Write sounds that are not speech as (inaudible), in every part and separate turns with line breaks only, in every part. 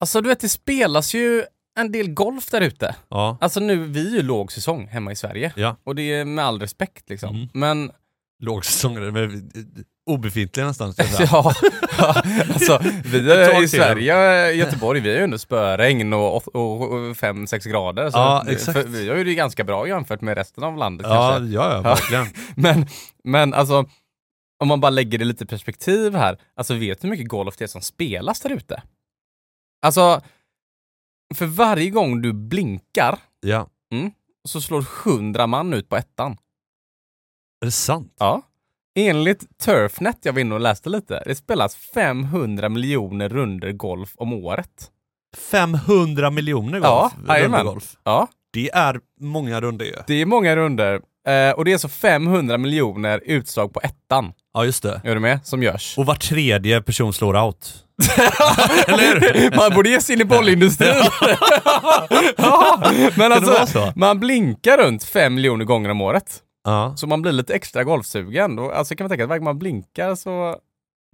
Alltså du vet, det spelas ju en del golf där ute.
Ja.
Alltså nu, vi är ju lågsäsong hemma i Sverige.
Ja.
Och det är med all respekt liksom.
Mm.
Men
Lågsäsong, eller, men, eh, obefintlig nästan. ska jag säga.
(laughs) ja, ja, alltså vi
(laughs) Ett
är
tag
i
till.
Sverige, Göteborg, vi är ju under spöregn och 5-6 grader. Så
Ja,
det-
exakt.
För, vi har ju det ganska bra jämfört med resten av landet
Ja,
kanske.
ja, ja, verkligen.
Men, men alltså, om man bara lägger det lite i perspektiv här. Alltså vet du hur mycket golf det är som spelas där ute? Alltså, för varje gång du blinkar
Ja.
så slår 100 man ut på ettan.
Är det sant?
Ja. Enligt Turfnet, jag var inne och läste lite, det spelas 500 miljoner runder golf om året.
500 miljoner
Ja,
golf?
jajamän.
runder golf.
Ja,
Det är många runder ju.
det är många runder eh, och det är så 500 miljoner utslag på ettan,
Ja, just det.
är du med, som görs.
Och var tredje person slår out.
(laughs) man borde ge sig in i
(laughs)
bollindustrin. ja, men
Kan det vara
alltså,
så?
man blinkar runt 5 miljoner gånger om året.
Ja.
Så man blir lite extra golfsugen. Och, Alltså kan man tänka att varje gång man blinkar så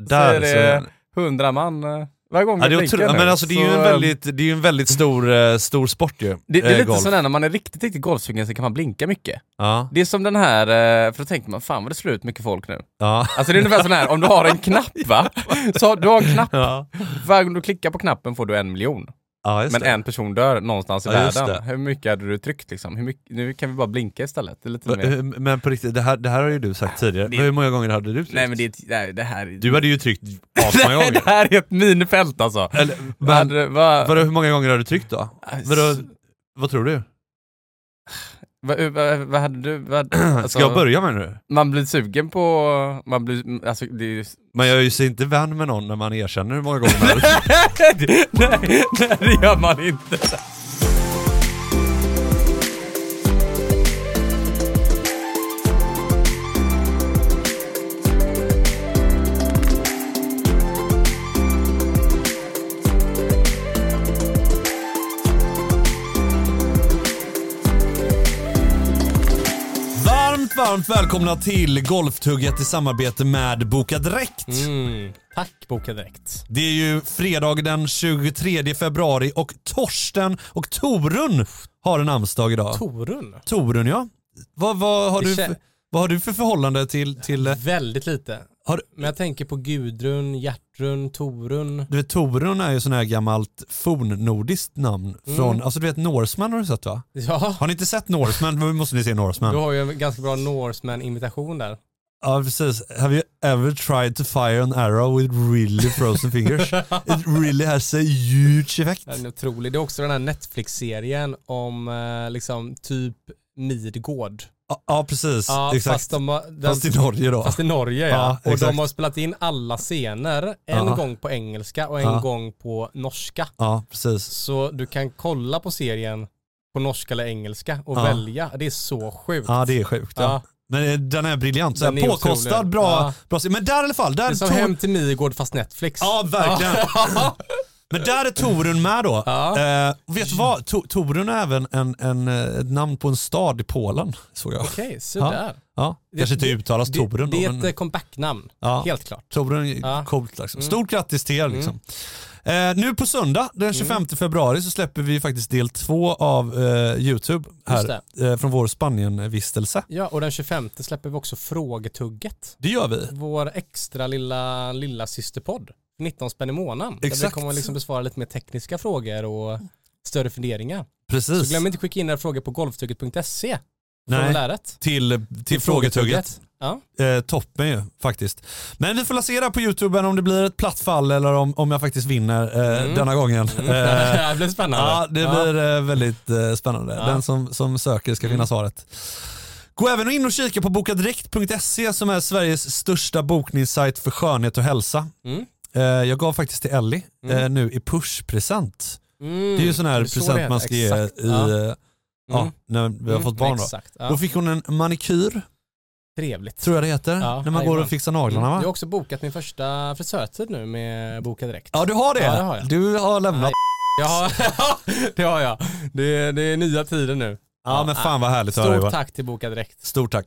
Där
så
så
är det 100 man. eh, Varje gång
Ja,
vi
det, är
blinkar
otro... ja,
nu,
men alltså, det är ju
så,
en
eh,
väldigt, det är ju en väldigt stor, eh, stor sport ju.
Det, det är
eh,
lite
golf.
sådär när man är riktigt, riktigt golfsugen så kan man blinka mycket.
Ja,
Det är som den här, eh, för då tänker man fan vad det slår ut mycket folk nu.
ja, (laughs)
Alltså det är ungefär sån här, om du har en knapp va? Så har- du har en knapp,
ja.
varje gång du klickar på knappen får du en miljon.
ja just
Men
det.
en person dör någonstans i
Ja, just
världen.
det.
Hur mycket hade du tryckt liksom? Hur mycket, nu kan vi bara blinka istället. Det är lite mer.
Men, (laughs) men på riktigt, det här, det här har ju du sagt tidigare.
Det-
Men Hur många gånger hade du tryckt?
Nej men det, är ett- nej, det här
Du hade
(laughs)
ju tryckt
det,
asmånga
här,
gånger.
det här är ett minfält alltså.
Eller,
Vad
(laughs) men,
hade du- vad-
vadå, hur många gånger har du tryckt då? Vadå, vad tror du?
vad- vad- vad hade du? Vad, alltså,
(clears throat) Ska jag börja med nu?
Man blir sugen på... Man blir, alltså, det är ju
Men jag är ju så inte vän med någon när man erkänner hur många gånger man har
(laughs)
tryckt.
nej, nej, det gör man inte.
(laughs) Varmt, varmt välkomna till Golftugget i samarbete med Boka Direkt. Mm.
Tack Boka Direkt.
Det är ju fredag den 23 februari och Torsten och Torun har en namnsdag idag.
Torun?
Torun ja. Vad, vad, har,
Det
du
kän-
för, vad har du för förhållande till, till eh,
Väldigt lite.
har, du-
Men jag tänker på Gudrun, Gertrun, Torun.
du vet, Torun är ju sån här gammalt fornnordiskt namn. Från, Alltså du vet Norseman har du sett va?
Ja,
Har ni inte sett Norseman? Men måste ni se Norseman.
du har ju en ganska bra Norseman-imitation där.
Ja, precis. Have you ever tried to fire an arrow with really frozen
(laughs)
fingers? It really has a huge effect.
Den är otrolig. Det är också den här Netflix-serien om eh, liksom typ Midgård.
Ja, ja, precis.
Ja,
Exakt.
Fast, de, har- den,
Fast i Norge då.
fast i Norge ja.
Ja,
Och
exakt.
de har spelat in alla scener, en
Ja.
gång på engelska och en
Ja.
gång på norska.
Ja, precis.
Så du kan kolla på serien på norska eller engelska och
Ja.
välja. Det är så sjukt.
Ja, det är sjukt. Ja.
Ja.
Men eh, den är briljant. Så
Den
här
är
påkostad,
otrolig.
bra,
Ja.
bra. Men där i alla fall. Där
Det är som
Tor-
Hem till Midgård fast Netflix.
Ja, verkligen. (laughs) Men där är Torun med då.
Ja.
Eh, och vet du vad? To- Torun är även en, en, eh, ett namn på en stad i Polen, såg jag.
Okej, sådär.
Ja. Kanske inte uttalas
Det,
Torun
det
då,
är ett eh,
men
comebacknamn,
Ja.
helt klart.
Torun är
Ja. Mm.
coolt liksom. Stort grattis till er liksom. Eh, nu på söndag
Mm.
den 25 februari så släpper vi faktiskt del två av eh, YouTube här eh, från vår Spanienvistelse.
Ja, och den 25 släpper vi också Frågetugget.
Det gör vi.
Vår extra lilla, lilla systerpodd. 19 spänn i månaden. Där vi
Exakt.
kommer liksom besvara lite mer tekniska frågor och större funderingar. Så
Precis.
glöm inte skicka in era frågor på golftugget.se.
Nej.
Formuläret.
Till, till frågetugget.
Ja.
eh, toppen ju faktiskt. Men vi får lansera på Youtube om det blir ett platt fall eller om, om jag faktiskt vinner eh,
Mm.
denna
(laughs)
gången. Eh,
det här blir spännande.
ja, det blir eh, väldigt eh, spännande.
Ja. Mm.
Den som, som söker ska finna svaret. Gå även in och kika på bokadirekt.se som är Sveriges största bokningssajt för skönhet och hälsa.
Mm.
Eh, jag gav faktiskt till Ellie eh, nu i pushpresent.
Mm.
Det är ju sån här
det så det
present
heter?
man ska ge
Exakt.
i,
Ja.
eh, ja,
Mm.
när vi har
Mm,
fått barn då.
Exakt. Ja.
Då fick hon en manikyr,
Trevligt.
tror jag det heter,
Ja,
när man går och
jajamän.
fixar naglarna va?
Mm. Jag har också bokat min första frisörtid nu med
(laughs)
Boka Direkt.
Ja du har det?
Ja, det har jag.
Du har lämnat.
Nej. Jag har, det har jag. Det är, det är nya tider nu.
ja men fan vad härligt att höra,
Stort
Johan.
tack till Boka Direkt.
Stort tack.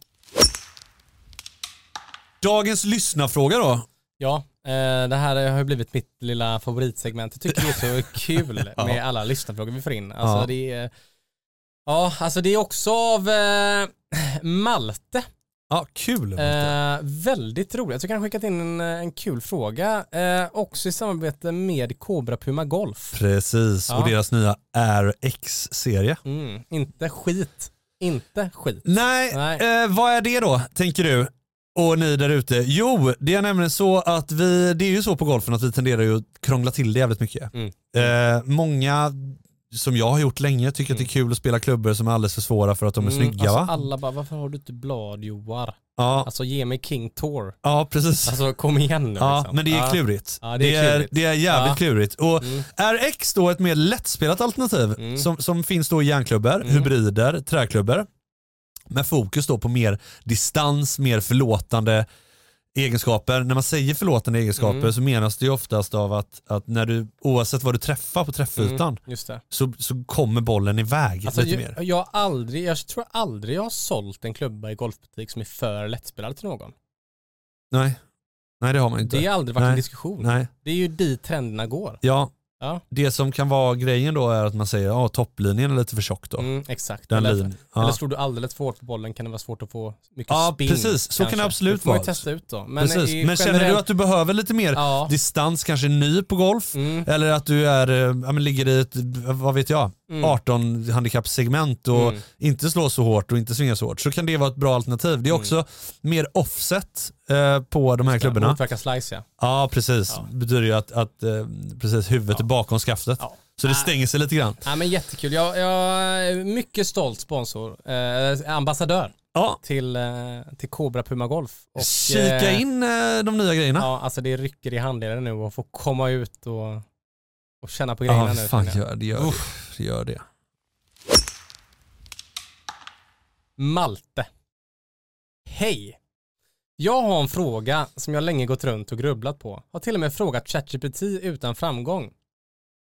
Dagens lyssnarfråga då.
Ja, Eh, Det här har ju blivit mitt lilla favoritsegment. Jag tycker det
(laughs)
är så kul
Ja.
med alla lyssnarfrågor vi får in. Alltså
Ja.
det är, ja, alltså det är också av eh, Malte.
Ja, kul.
Eh, väldigt roligt. Jag tycker han har skickat in en, en kul fråga. Eh, också i samarbete med Cobra Puma Golf.
Precis, och
Ja.
deras nya RX-serie.
Mm. Inte skit. Inte skit.
Nej,
Nej.
Eh, vad är det då, tänker du? Och ni där ute? Jo, det är nämligen så att vi, det är ju så på golfen att vi tenderar ju att krångla till det jävligt mycket.
Mm.
Eh, många, som jag har gjort länge, tycker att det är kul att spela klubbor som är alldeles för svåra för att de är snygga
Mm. alltså,
va?
Alla bara, varför har du inte blad Johar?
Ja,
Alltså ge mig King Tour.
ja, precis.
Alltså kom igen nu
Ja,
liksom.
men det är
Ja.
klurigt.
Ja,
det,
det
är
är
det, är,
klurigt.
jävligt
Ja.
klurigt. Och
Mm.
RX då är ett mer lättspelat alternativ
Mm.
som, som finns då i järnklubbor, hybrider, träklubbor. Med fokus då på mer distans, mer förlåtande egenskaper. När man säger förlåtande egenskaper
Mm.
så menas det ju oftast av att, att när du, oavsett vad du träffar på träffytan
Mm, just det.
så, så kommer bollen iväg
Alltså,
lite
jag,
mer.
jag, har aldrig, jag tror aldrig jag har sålt en klubba i golfbutik som är för lättspelad till någon.
Nej. Nej det har man inte.
Det har aldrig varit
Nej.
en diskussion.
Nej.
Det är ju dit trenderna går.
Ja.
Ja.
Det som kan vara grejen då är att man säger att topplinjen är lite för tjock då.
Mm, exakt.
Den
eller,
linjen. Ja.
eller slår du alldeles för hårt på bollen kan det vara svårt att få mycket
Ja,
spin.
precis. Så kan det absolut
vara.
vara.
Det får man ju testa ut då. Men,
Men, Precis. men känner du att du behöver lite mer
Ja.
distans, kanske ny på golf?
Mm,
Eller att du är, eh, ja, men ligger i ett, vad vet jag,
mm,
18 handikappsegment och
Mm.
inte slår så hårt och inte svingar så hårt. Så kan det vara ett bra alternativ.
Mm.
Det är också mer offset eh, på de här klubborna.
Motverka slice ja.
Ja, precis.
Ja.
betyder ju att, att eh, precis, huvudet är bakom skaftet.
Ja.
Så det stänger sig lite grann.
ja men jättekul. Jag, jag är mycket stolt sponsor, eh, ambassadör
Ja.
till, eh, till Cobra Puma Golf. Och,
Kika
eh,
in eh, de nya grejerna.
Ja, alltså det rycker i handleden nu och få komma ut och, och känna på grejerna
Ja,
nu.
fan
känner jag.
gör det. Gör det. Gör det.
Malte. Hej! Jag har en fråga som jag länge gått runt och grubblat på. Har till och med frågat ChatGPT utan framgång.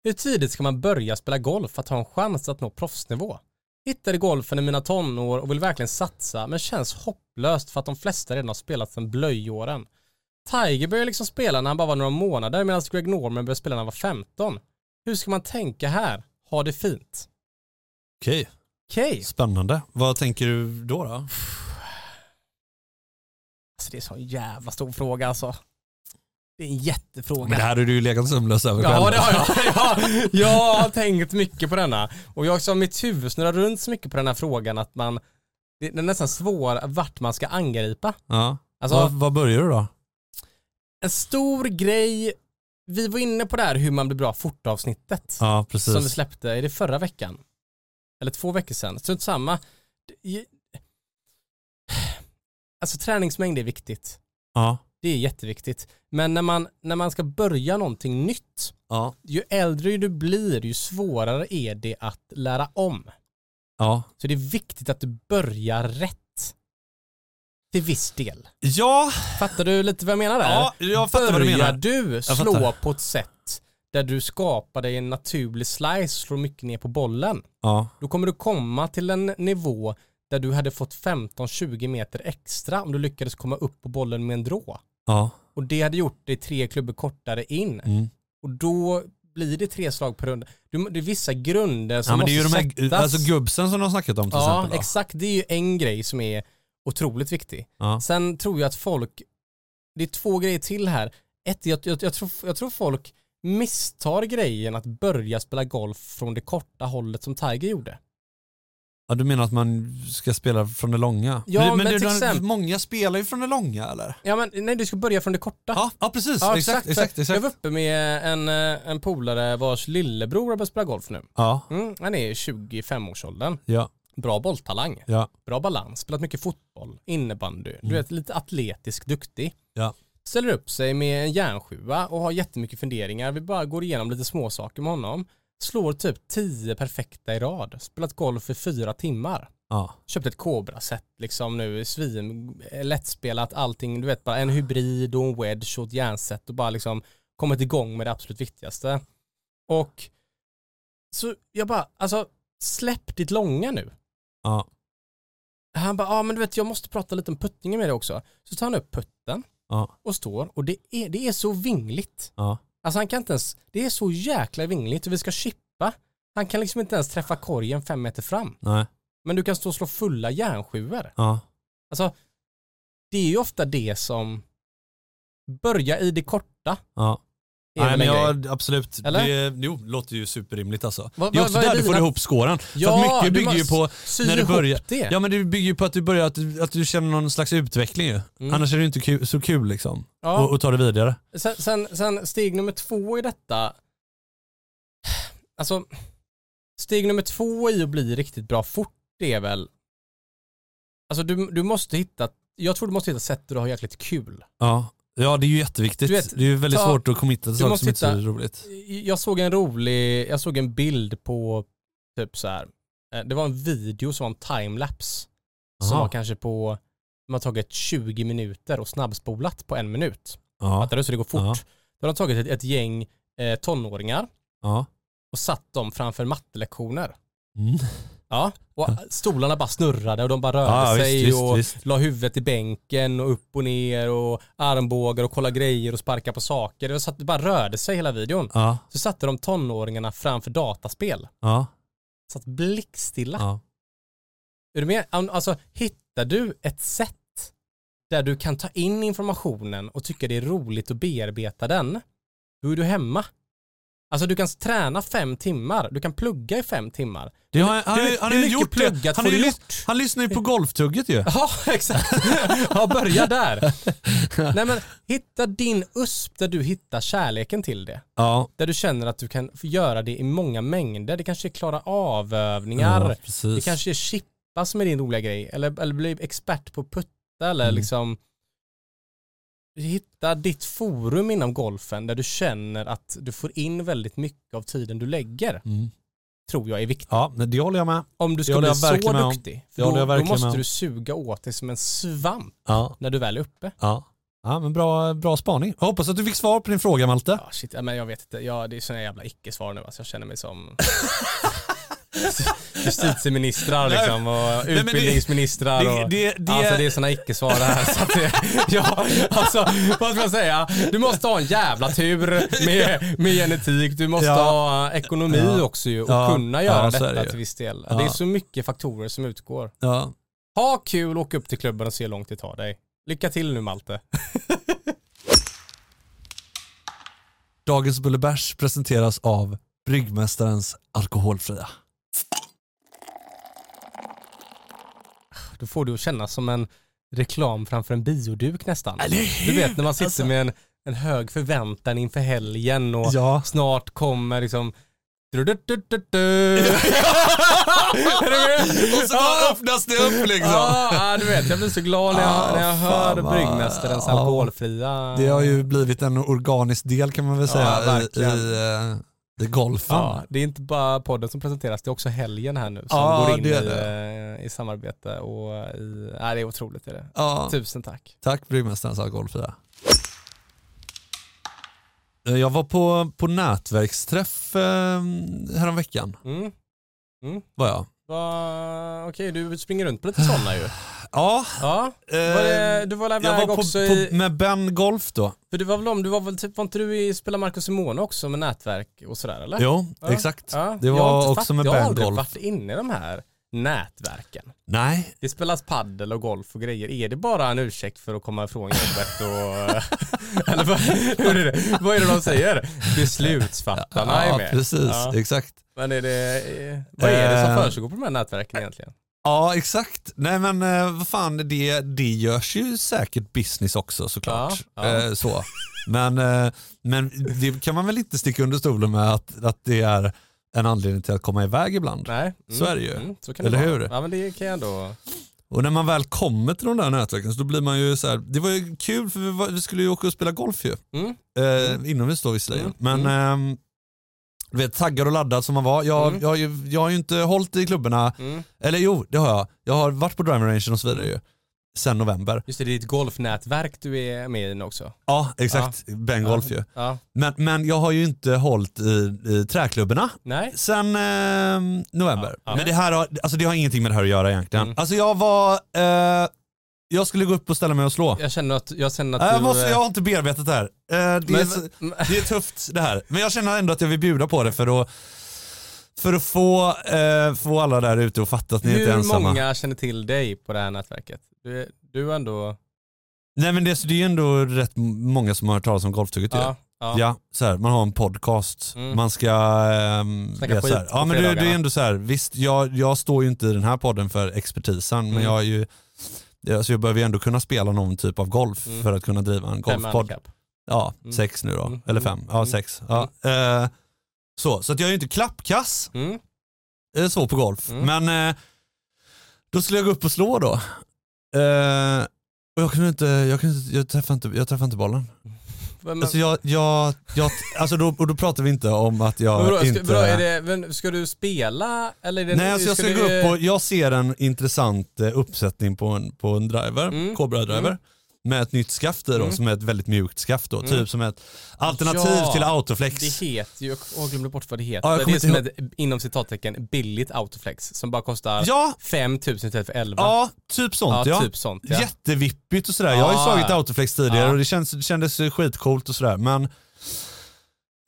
Hur tidigt ska man börja spela golf för att ha en chans att nå proffsnivå? Hittade golfen i mina tonår och vill verkligen satsa men känns hopplöst för att de flesta redan har spelat sedan blöjåren. Tiger började liksom spela när han bara var några månader medan Greg Norman började spela när han var 15. Hur ska man tänka här? Ha det fint.
Okej.
Okej.
Spännande. Vad tänker du då? då?
Alltså det är så en jävla stor fråga alltså. Det är en jättefråga.
Men det här är du ju legat sömnlös över själv.
ja, det har jag. jag. (laughs) Jag har tänkt mycket på denna. Och jag har också mitt huvud snurrar runt så mycket på den här frågan att man, det det är nästan svår vart man ska angripa.
Ja.
Alltså
vad, vad börjar du då?
en stor grej, vi var inne på det här hur man blir bra fort-avsnittet.
Ja, precis.
som vi släppte, är det förra veckan? Eller två veckor sedan? Strunt samma. Det- Alltså träningsmängd är viktigt.
ja.
Det är jätteviktigt. Men när man, när man ska börja någonting nytt,
Ja.
ju äldre du blir, ju svårare är det att lära om.
Ja.
Så det är viktigt att du börjar rätt. Till viss del.
Ja,
Fattar du lite vad jag menar där?
ja, jag fattar vad du
Börjar
menar.
du slå
fattar.
på ett sätt där du skapar dig en naturlig slice, slår mycket ner på bollen,
Ja.
då kommer du komma till en nivå där du hade fått 15-20 meter extra om du lyckades komma upp på bollen med en drå.
Ja.
Och det hade gjort dig tre klubbor kortare in.
Mm.
Och då blir det tre slag per runda. Du, det är vissa grunder som
ja men det
måste
är ju de här,
sättas.
alltså gubbsen som de har snackat om till
ja,
exempel. då.
exakt. Det är ju en grej som är otroligt viktig.
Ja.
Sen tror jag att folk, det är två grejer till här. Ett, jag, jag, jag, tror, jag tror folk misstar grejen att börja spela golf från det korta hållet som Tiger gjorde.
ja, du menar att man ska spela från det långa?
Ja, men
du,
till
du-
exempel-
många spelar ju från det långa eller?
Ja men nej, du ska börja från det korta.
Ja, ja precis.
Ja,
exakt,
för
exakt,
Jag
exakt.
var uppe med en, eh, en polare vars lillebror har börjat spela golf nu.
Ja,
Mm, han är i 25-årsåldern.
ja,
Bra bolltalang.
ja,
bra balans, spelat mycket fotboll, innebandy, du vet lite atletisk, duktig.
ja.
Ställer upp sig med en järnsjua och har jättemycket funderingar. Vi bara går igenom lite småsaker med honom. Slår typ 10 perfekta i rad. Spelat golf i fyra timmar.
ja.
Köpt ett Cobra-set liksom nu, svin, eh, lättspelat allting, du vet bara en hybrid och en wedge och ett järnset och bara liksom kommit igång med det absolut viktigaste. Och så jag bara, alltså släpp ditt långa nu.
ja.
Han bara, ja ah, men du vet jag måste prata lite om puttningen med dig också. Så tar han upp putten,
Ja.
och står och det är, det är så vingligt.
Ja.
Alltså han kan inte ens, det är så jäkla vingligt och vi ska chippa. Han kan liksom inte ens träffa korgen fem meter fram.
Nej.
Men du kan stå och slå fulla järnsjuor.
Ja.
Alltså, det är ju ofta det som börja i det korta.
Ja.
Är
Nej
väl
men
en grej.
jag, absolut.
Eller?
Det, jo, låter ju superrimligt alltså.
Vad-
det är
vad-
också
vad är
där du får
dina-
ihop skåren.
Ja,
för att mycket
du
bygger ju
måste
på,
Sy
När du
ihop
börjar-
det.
ja men det bygger ju på att du börjar, att du, att du känner någon slags utveckling ju.
Mm.
Annars är det ju inte kul, så kul liksom.
Ja.
Och, och ta det vidare.
Sen, sen, sen steg nummer två i detta. Alltså, steg nummer två i att bli riktigt bra fort det är väl. Alltså du, du måste hitta, jag tror du måste hitta sätt där du har jäkligt kul.
Ja. Ja det är ju jätteviktigt.
Du vet,
det är ju väldigt
ta-
svårt att committa till saker
måste
som inte är så
hitta-
roligt.
Jag såg en rolig, jag såg en bild på typ så här. eh, Det var en video som var en timelapse. Som
Aha.
var kanske på, de har tagit 20 minuter och snabbspolat på en minut.
Ja.
Fattar du? Så det går fort.
Ja.
Då har de tagit ett, ett gäng eh, tonåringar
ja.
och satt dem framför mattelektioner.
Mm.
Ja, och stolarna bara snurrade och de bara rörde
Ja, visst,
sig
visst,
och
visst.
la huvudet i bänken och upp och ner och armbågar och kolla grejer och sparka på saker. Det, var så att det bara rörde sig hela videon.
Ja.
Så satte de tonåringarna framför dataspel.
Ja.
Satt blickstilla.
Ja.
Är du med? An- Alltså, hittar du ett sätt där du kan ta in informationen och tycka det är roligt att bearbeta den, då är du hemma. Alltså du kan träna fem timmar, du kan plugga i fem timmar.
Det har, han,
hur-
han, han
hur
har ju
mycket
gjort det.
pluggat
Han,
får
har ju
du
lys-
gjort?
han lyssnar ju på golftugget ju.
Ja, (laughs) exakt. Ja, börja där.
(laughs)
Nej men, hitta din USP där du hittar kärleken till det.
Ja.
Där du känner att du kan få göra det i många mängder. Det kanske är klara avövningar.
Ja, precis.
Det kanske är chippa som är din roliga grej. Eller, eller bli expert på putta eller
Mm.
liksom hitta ditt forum inom golfen där du känner att du får in väldigt mycket av tiden du lägger.
Mm.
Tror jag är viktigt.
Ja, men det håller jag med.
Om du ska
håller
bli
jag verkligen med
så
om.
duktig.
Det håller
Då,
jag
då
verkligen med
måste
om.
du suga åt dig som en svamp
Ja.
när du väl är uppe.
Ja. Ja, men bra, bra spaning. Jag hoppas att du fick svar på din fråga Malte.
Ja, Ah, shit, ja, men jag vet inte. Ja, det är såna jävla icke-svar nu. Alltså, jag känner
(laughs)
mig som justitieministrar
Nej.
liksom, och
men det-
utbildningsministrar.
det-
och,
det- det-
alltså det är såna icke-svar det här. Så att det, (laughs) ja, alltså, vad ska man säga? Du måste ha en jävla tur med, med genetik. Du måste
Ja.
ha ekonomi
Ja.
också ju, och
Ja.
kunna göra
Ja, så är det
detta
ju.
till viss del.
Ja.
Det är så mycket faktorer som utgår.
Ja.
Ha kul, åk upp till klubben och se hur långt det tar dig. Lycka till nu Malte.
Dagens Bullebärs presenteras av Bryggmästarens Alkoholfria.
Då får du att känna som en reklam framför en bioduk nästan.
Eller hur?
Du vet när man sitter
Alltså.
med en, en hög förväntan inför helgen (laughs) och
Ja.
snart kommer liksom du-du-du-du-du.
(laughs)
Är du med?
Och så bara öppnas det upp liksom.
Ja, ja, du vet, jag blir så glad när jag,
Ah,
när jag hör
fan vad-
bryggmästarens
ja.
alkoholfria...
Det har ju blivit en organisk del kan man väl
Ja,
säga i,
verkligen.
i, eh, i golfen.
Ja, det är inte bara podden som presenteras, det är också helgen här nu som
Ja,
går in
det är
i, eh, i samarbete och i... Nej, det är otroligt. Det är det.
Ja.
Tusen tack.
Tack Bryggmästarens Alkoholfria. Eh, Jag var på, på nätverksträff eh, häromveckan.
Mm.
Var jag.
Va... Okej, du springer runt på lite sådana ju.
Ja,
Ja,
eh,
var det, du var väl
jag
iväg
var på,
också i...
på, med Ben Golf då.
För det var väl om, du var väl typ, var inte du i Spela Marco Simone också med nätverk och sådär eller?
Jo,
Ja.
exakt.
Ja,
Det
jag har inte
var
fatt-
också med
Jag har
Ben
aldrig
Golf.
varit inne i de här nätverken.
Nej,
Det spelas paddel och golf och grejer. Är det bara en ursäkt för att komma ifrån jobbet och... (laughs) eller vad, hur är det? vad är det de säger? Beslutsfattarna är
ja,
med.
precis.
Ja.
Exakt.
Men är det, eh, vad är det som
Eh.
försiggår på de här nätverken egentligen?
Ja, exakt. Nej men eh, vad fan, det, det görs ju säkert business också såklart.
Ja, ja.
Eh, så. Men, eh, men det kan man väl inte sticka under stolen med att, att det är en anledning till att komma iväg ibland.
Nej.
Mm, Så är det ju.
så kan
Eller
det vara.
hur?
Ja men det kan jag ändå...
Och när man väl kommer till de där nätverken så då blir man ju så här, det var ju kul för vi, var, vi skulle ju åka och spela golf ju.
Mm.
Eh, Inomhus då visserligen.
Mm,
Men ehm, du vet, taggad och laddad som man var. Jag,
Mm.
jag, har ju- jag har ju inte hållit i klubborna,
Mm.
eller jo det har jag. Jag har varit på driving range och så vidare ju. Sen november.
Just det, det är ett golfnätverk du är med i nu också.
Ja, exakt. Bengolf ju.
Ja.
Men, men jag har ju inte hållit i, i träklubborna
Nej.
sen eh, november.
Ja, ja.
Men det här har, alltså det har ingenting med det här att göra egentligen.
Mm.
Alltså jag var eh, Jag skulle gå upp och ställa mig och slå.
Jag känner att, jag känner att
Nej, jag,
du...
måste,
eh,
Äh, jag har inte bearbetat det här. Eh, Det är,
men-
så- det är tufft det här. Men jag känner ändå att jag vill bjuda på det för att, för att få, eh, få alla där ute att fatta att ni inte är
Hur
ensamma.
många känner till dig på det här nätverket? Du, är- du är ändå...
Nej men det, det är ju ändå rätt många som har hört talas om Golftugget ju.
Ja, ja.
Ja, så här, man har en podcast.
Mm.
Man ska... ehm,
Snacka
det är så
skit
här.
på
Ja men det, det är
fredagarna.
ändå så här, visst jag, jag står ju inte i den här podden för expertisen men
Mm.
jag är ju Alltså jag behöver ju ändå kunna spela någon typ av golf
Mm.
för att kunna driva en
Fem
golfpodd.
handikapp.
Ja,
Mm.
sex nu då.
Mm.
Eller fem. Ja,
Mm.
sex. Ja. Eh, så, så att jag är ju inte klappkass
Mm.
eh, så på golf.
Mm.
Men eh, då skulle jag gå upp och slå då. Eh, och jag kunde inte, jag kunde inte, jag träffade inte, jag träffade inte bollen.
Men,
Alltså jag, jag, jag alltså då, och då pratar vi inte om att jag
men vadå, ska,
inte...
vadå, är det, men ska du spela eller? Är det,
Nej, alltså jag ska
du-
gå upp och, jag ser en intressant eh, uppsättning på en, på en driver,
Mm.
Cobra-driver. Med ett nytt skaft i då,
Mm.
som är ett väldigt mjukt skaft då.
Mm.
Typ som ett alternativ
Ja.
till autoflex.
Det heter ju, åh, jag glömde bort vad det heter.
Ja, jag
det
kommer
är som
inte
ett, inom citattecken, billigt autoflex som bara kostar
Ja,
5000 istället för 11.
ja, typ sånt ja.
ja, typ sånt. Ja.
Jättevippigt och sådär. Jag har ju
Ja,
slagit
ja.
autoflex tidigare
Ja.
och det, känns, det kändes skitcoolt och sådär. Men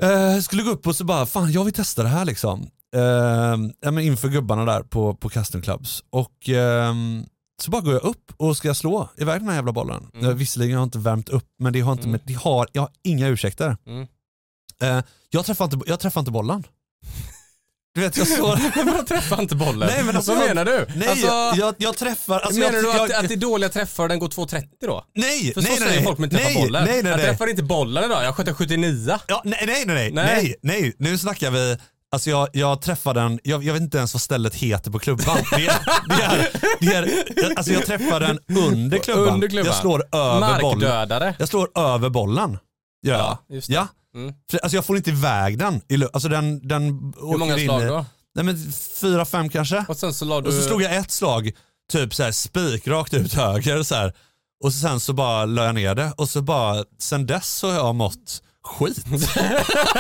eh, skulle gå upp och så bara, fan jag vill testa det här liksom. Eh, ja, men inför gubbarna där på, på Custom Clubs. Och ehm, så bara går jag upp och ska slå iväg den här jävla bollen.
Mm.
Eh, Visserligen har jag inte värmt upp men det har inte,
Mm.
med, det har, jag har inga ursäkter.
Mm.
Eh, jag, träffar inte, jag träffar inte
(laughs)
bollen. Du vet jag står...
Men jag träffar inte bollen.
Nej, men alltså-
vad menar du?
Nej,
alltså,
jag, jag träffar... Alltså,
menar
jag,
du att,
jag,
att det är dåliga träffar och den går 2.30 då?
Nej, nej,
För så
nej,
säger
nej.
folk med att träffa
nej,
bollen.
Nej, nej,
jag
nej.
träffade inte bollen idag, jag sköt en 79.
Ja, nej, nej, nej, nej, nej,
Nej.
nej, nu snackar vi, alltså jag, jag träffade den, jag, jag vet inte ens vad stället heter på klubban. Det är, det är, det är, alltså jag träffar den under klubban.
Under klubban.
Jag slår över bollen.
Markdödare.
Jag slår över bollen. Gör jag.
Ja, just det.
Ja.
Mm.
För, alltså jag får inte iväg den. i lu- Alltså den, den
Hur många slag då?
Nej men fyra, fem kanske.
Och sen så la du...
Och så slog jag ett slag, typ så här spik rakt ut höger så här. Och så sen så bara la jag ner det och så bara, sen dess så har jag mått skit. (laughs)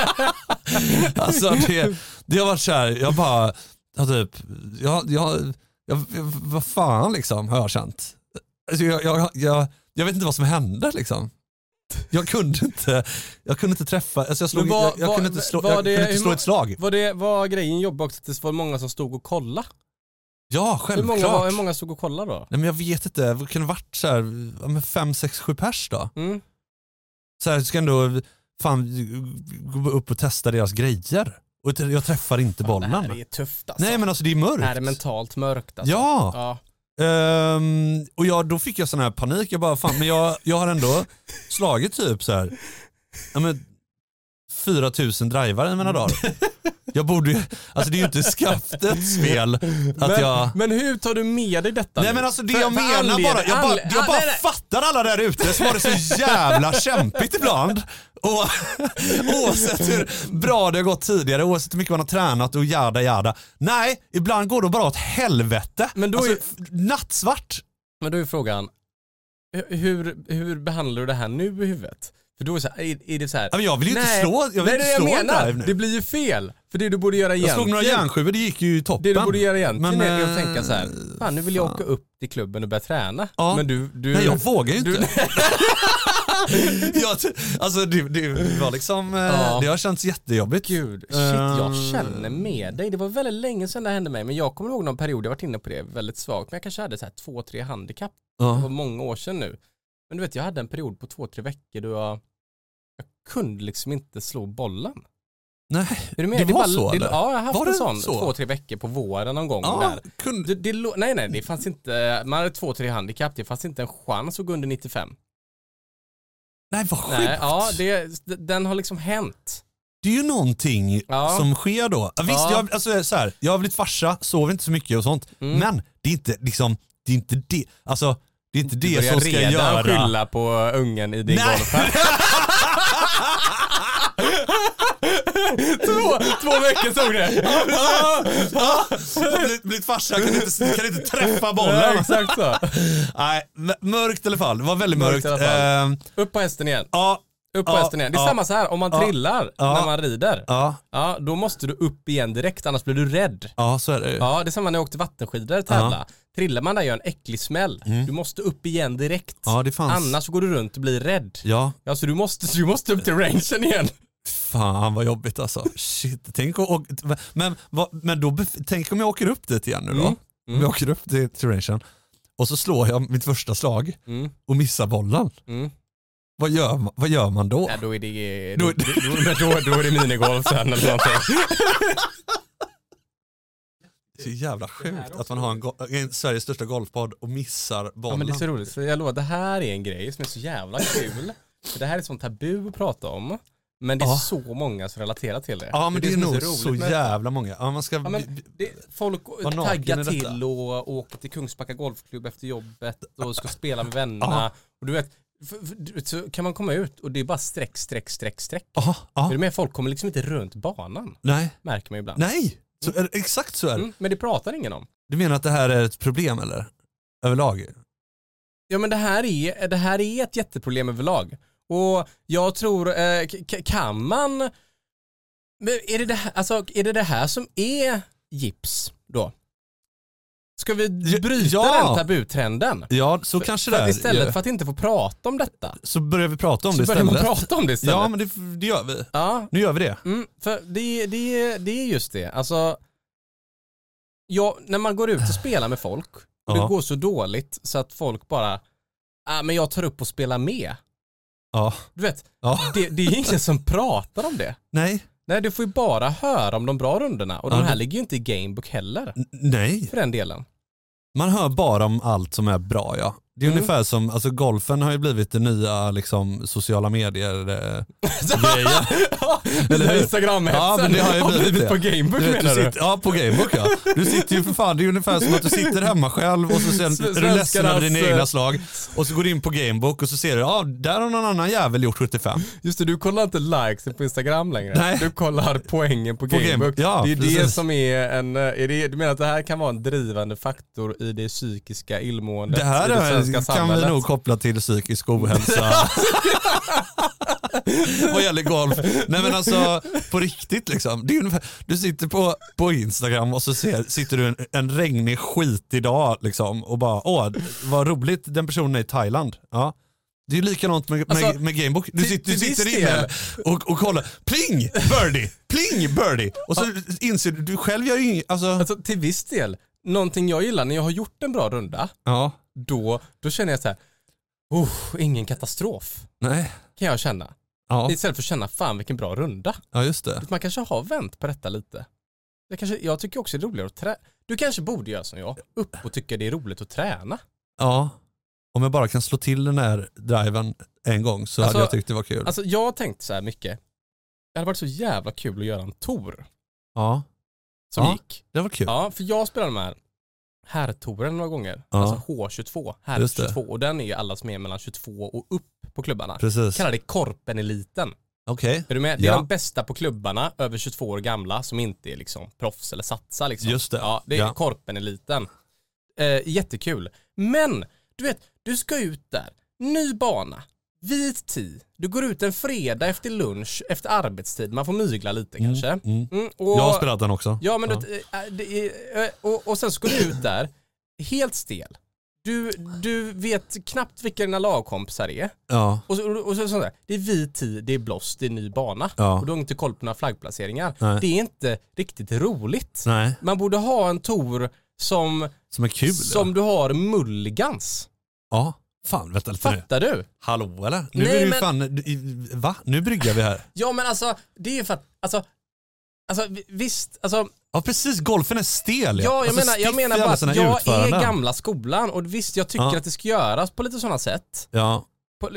alltså det, det har varit så här, jag bara, jag typ, jag, jag, jag, jag vad fan liksom har jag känt. Alltså jag, jag, jag, jag vet inte vad som hände liksom. Jag kunde inte, jag kunde inte träffa, alltså jag, slog,
Men vad-
jag, jag
vad-
kunde inte slå,
vad
jag
det-
kunde inte
hur
slå
må-
ett slag.
Var, det, var grejen jobbig också att det var många som stod och kollade?
Ja,
Hur
självklart.
många, var, hur många stod och kollade då?
Nej men jag vet inte, det kan ha varit så här, ja, men fem, sex, sju pers då.
Mm.
Så här, ska ändå fan gå upp och testa deras grejer. Och t- jag träffar inte bollen.
Det här är tufft alltså.
Nej men alltså det är mörkt.
det här är mentalt mörkt alltså.
Ja,
Ja.
Ehm, och jag, då fick jag sån här panik. Jag bara fan, men jag, jag har ändå slagit typ så här, ja men 4000 drivare i mina dagar. Jag borde ju, alltså det är ju inte skaftets fel att
men,
jag...
men hur tar du med dig detta
Nej
nu?
men alltså det
För-
jag
för
menar
anled-
bara, jag bara,
anle-
jag bara
nej, nej.
fattar alla där ute som har det så jävla
(laughs)
kämpigt ibland. Och, (laughs) oavsett hur bra det har gått tidigare, oavsett hur mycket man har tränat och jada jada. Nej, ibland går det bara åt helvete.
Men då är-
alltså, f- Nattsvart.
Men då är frågan, hu- hur, hur behandlar du det här nu i huvudet? För då är, så här, är, är det så här,
Ja, men Jag vill ju inte
nej,
slå, jag vill
nej,
inte
det är
slå
det
en
jag menar.
drive
Det
nu.
blir ju fel. För det du borde göra
Jag
egentligen.
slog några järnsjuor, det gick ju i toppen.
Det du borde göra egentligen
Men,
är att
eh,
tänka så här, fan nu vill jag
fan.
åka upp till klubben och börja träna.
Ja.
Men du, du...
Nej jag vågar ju
du-
inte. (laughs) jag, alltså det, det var liksom, eh,
Ja.
det har känts jättejobbigt.
Gud, shit
Eh.
jag känner med dig. Det var väldigt länge sedan det hände mig, men jag kommer ihåg någon period jag varit inne på det väldigt svagt, men jag kanske hade så här två, tre handikapp. Det var
Ja.
många år sedan nu. Men du vet, jag hade en period på två, tre veckor då jag, jag kunde liksom inte slå bollen.
Nej.
Är du med?
Det var
är bara-
så,
det,
eller?
Ja, jag har haft
Var
en
det
sån
så?
två, tre veckor på våren någon gång
Ja,
där.
kunde,
Det, det, lå- nej, nej, det fanns inte, man hade två, tre handikapp, det fanns inte en chans att gå under 95.
nej vad sjukt.
Nej, ja, det, d- den har liksom hänt.
Det är ju någonting
Ja.
som sker då. Ja, Visst,
Ja.
jag, alltså, så här, jag har blivit farsa, sover inte så mycket och sånt.
Mm.
Men det är inte liksom, det är inte det, alltså, det, är inte
Du
det
börjar
som ska
redan
göra...
skylla på ungen i din
Nej.
golf. här. två, två veckor såg
(laughs)
det.
Ja, jag har blivit- blivit farsa, kan inte, kan inte träffa
Ja,
bollen.
exakt så.
Nej, m- mörkt i alla fall. Det var väldigt mörkt.
Mörkt i alla fall.
Eh,
Upp på hästen igen.
ja,
Upp på
Ja,
hästen igen. Det är
ja.
samma så här, om man
Ja.
trillar
Ja.
när man rider,
Ja,
ja, då måste du upp igen direkt annars blir du rädd.
ja så är det ju.
Ja, det är samma när jag åkte vattenskidor och tävla. Trillar man där gör en äcklig smäll. Du måste upp igen direkt.
Mm. Ja, det fanns.
Annars går du runt och blir rädd.
Ja,
Ja, så du måste, du måste upp till rangen igen.
fan vad jobbigt
(laughs)
alltså. Shit, tänk och, och, men, vad- men då, bef- tänk om jag åker upp dit igen nu då.
Mm.
Om jag åker upp till Turation och så slår jag mitt första slag
Mm.
och missar bollen.
Mm.
Vad gör, ma- vad gör man då?
Ja, då är det,
Då-
då, då, då, då, då är det minigolf sen eller någonting.
Det är så jävla sjukt att man har en, go- en Sveriges största golfpodd och missar
Ja, men
bollen.
det är så roligt. För jag lovar, det här är en grej som är så jävla kul. För det här är sånt tabu att prata om. Men det är
Ja.
så många som relaterar till det.
Ja men det är,
som
nog
roligt
så
med-
jävla många. Ja, man ska,
Ja, men det, folk
Vad naken är
taggar
detta?
till och åker till Kungsbacka golfklubb efter jobbet och ska spela med vännerna. Och du vet, för, för, du vet, så kan man komma ut och det är bara streck, streck, streck, streck.
Aha,
Är du
ja,
med? Folk kommer liksom inte runt banan,
nej,
märker man ibland.
nej. Så är, det- exakt så är det.
Mm, men det pratar ingen om.
Du menar att det här är ett problem eller? Överlag?
Ja men det här är, det här är ett jätteproblem överlag. Och jag tror, eh, k- k- kan man... Men är, det det här, alltså, är det det här som är gips då? Ska vi
Ja-
bryta
ja.
den tabutrenden?
Ja, så kanske det
För
är.
att istället
ju.
för att inte få prata om detta
Så börjar vi prata om
så
det
börjar
istället.
man prata om det istället.
Ja, men det, det gör vi.
Ja,
Nu gör vi det.
mm, för det, det, det är just det. Alltså, ja, när man går ut och spelar med folk och
Ja.
det går så dåligt så att folk bara, ah, men jag tar upp och spelar med.
Ja.
Du vet,
ja.
det, det är ingen som pratar om det.
Nej.
Nej, du får ju bara höra om de bra rundorna och
Ja,
de här
det-
ligger ju inte i Gamebook heller,
N- nej.
för
(laughs)
den delen.
Man hör bara om allt som är bra ja. Det är
Mm.
ungefär som, alltså golfen har ju blivit det nya liksom sociala medier.
(laughs)
Eh, (laughs)
Eller
hur?
Instagram-hetsen
Ja, men det har ju blivit det.
på Gamebook
du vet, du
menar du?
sitter, ja på Gamebook ja. Du sitter ju för fan, det är ungefär som att du sitter hemma själv och så sen, är du ledsen över dina
Svenskarnas, eh,
egna slag. Och så går du in på Gamebook och så ser du, ja där har någon annan jävel gjort 75.
Just det, du kollar inte likes på Instagram längre.
Nej.
Du kollar poängen på,
På Gamebook.
Gamebook.
Ja,
det är det
precis.
som är en, eh, är det, du menar att det här kan vara en drivande faktor i det psykiska illmåendet
Det här
i det
är,
svenska
kan
samhället?
vi nog koppla till psykisk
(laughs)
ohälsa. Vad gäller golf. Nej men alltså på riktigt liksom. Det är ungefär, du sitter på, på Instagram och så ser, sitter du en, en regnig skitig dag liksom och bara åh vad roligt den personen är i Thailand. Ja. Det är ju likadant med, med,
Alltså,
med Gamebook. Du,
till-
sitter, du
till viss
sitter inne
del.
och, och kollar, pling birdie, pling birdie. Och så inser du, du själv gör ju inget, alltså,
Alltså till viss del, någonting jag gillar när jag har gjort en bra runda,
ja,
då, då känner jag så här, oh, ingen katastrof
nej,
kan jag känna.
ja,
Istället för att känna, fan vilken bra runda.
ja just det.
Man kanske har vänt på detta lite. Jag, kanske, jag tycker också det är roligare att träna. Du kanske borde göra som jag, upp och tycka det är roligt att träna.
Ja, om jag bara kan slå till den här driven en gång så
Alltså-
hade jag tyckt det var kul.
Alltså jag har tänkt så här mycket. Det hade varit så jävla kul att göra en tour
ja,
som
Ja.
gick.
det var kul.
Ja, för jag spelade de här herrtouren några gånger.
Ja.
Alltså H22,
Just det.
herr22. Och den är ju alla som är mellan 22 och upp på klubbarna.
Precis.
Kallar det Korpen-eliten.
Okej,
Är du med? Det är
Ja.
de bästa på klubbarna, över 22 år gamla, som inte är liksom proffs eller satsar liksom.
Just det.
Ja, det är
Ja.
Korpen-eliten. Eh, jättekul. Men, du vet, du ska ut där, ny bana, vit tid. Du går ut en fredag efter lunch, efter arbetstid, man får mygla lite kanske.
mm.
Mm, och,
jag har spelat den också.
Ja, men du vet, eh, eh, det är, eh, och, och sen ska du ut där, helt stel. Du, du vet knappt vilka dina lagkompisar är.
Ja,
Och, så, och så, sånt där. Det är vit tid, det är blåst, det är ny bana.
Ja.
Och du har inte koll på några flaggplaceringar.
Nej.
Det är inte riktigt roligt.
nej,
Man borde ha en tour som,
som är kul.
som du har mulligans.
Ja, fan vänta lite nu.
Fattar du?
Hallå eller? Nu
Nej,
är du
men-
fan, i- va? Nu bryggar vi här.
Ja men alltså, det är ju för att, alltså, alltså vi- visst, alltså,
Ja precis, golfen är stel
ja, jag,
Alltså,
menar, jag
stiff
menar
i alla
bara
sina
att jag
utföranden.
är gamla skolan och visst jag tycker
Ja.
att det ska göras på lite sådana sätt.
Ja,
på,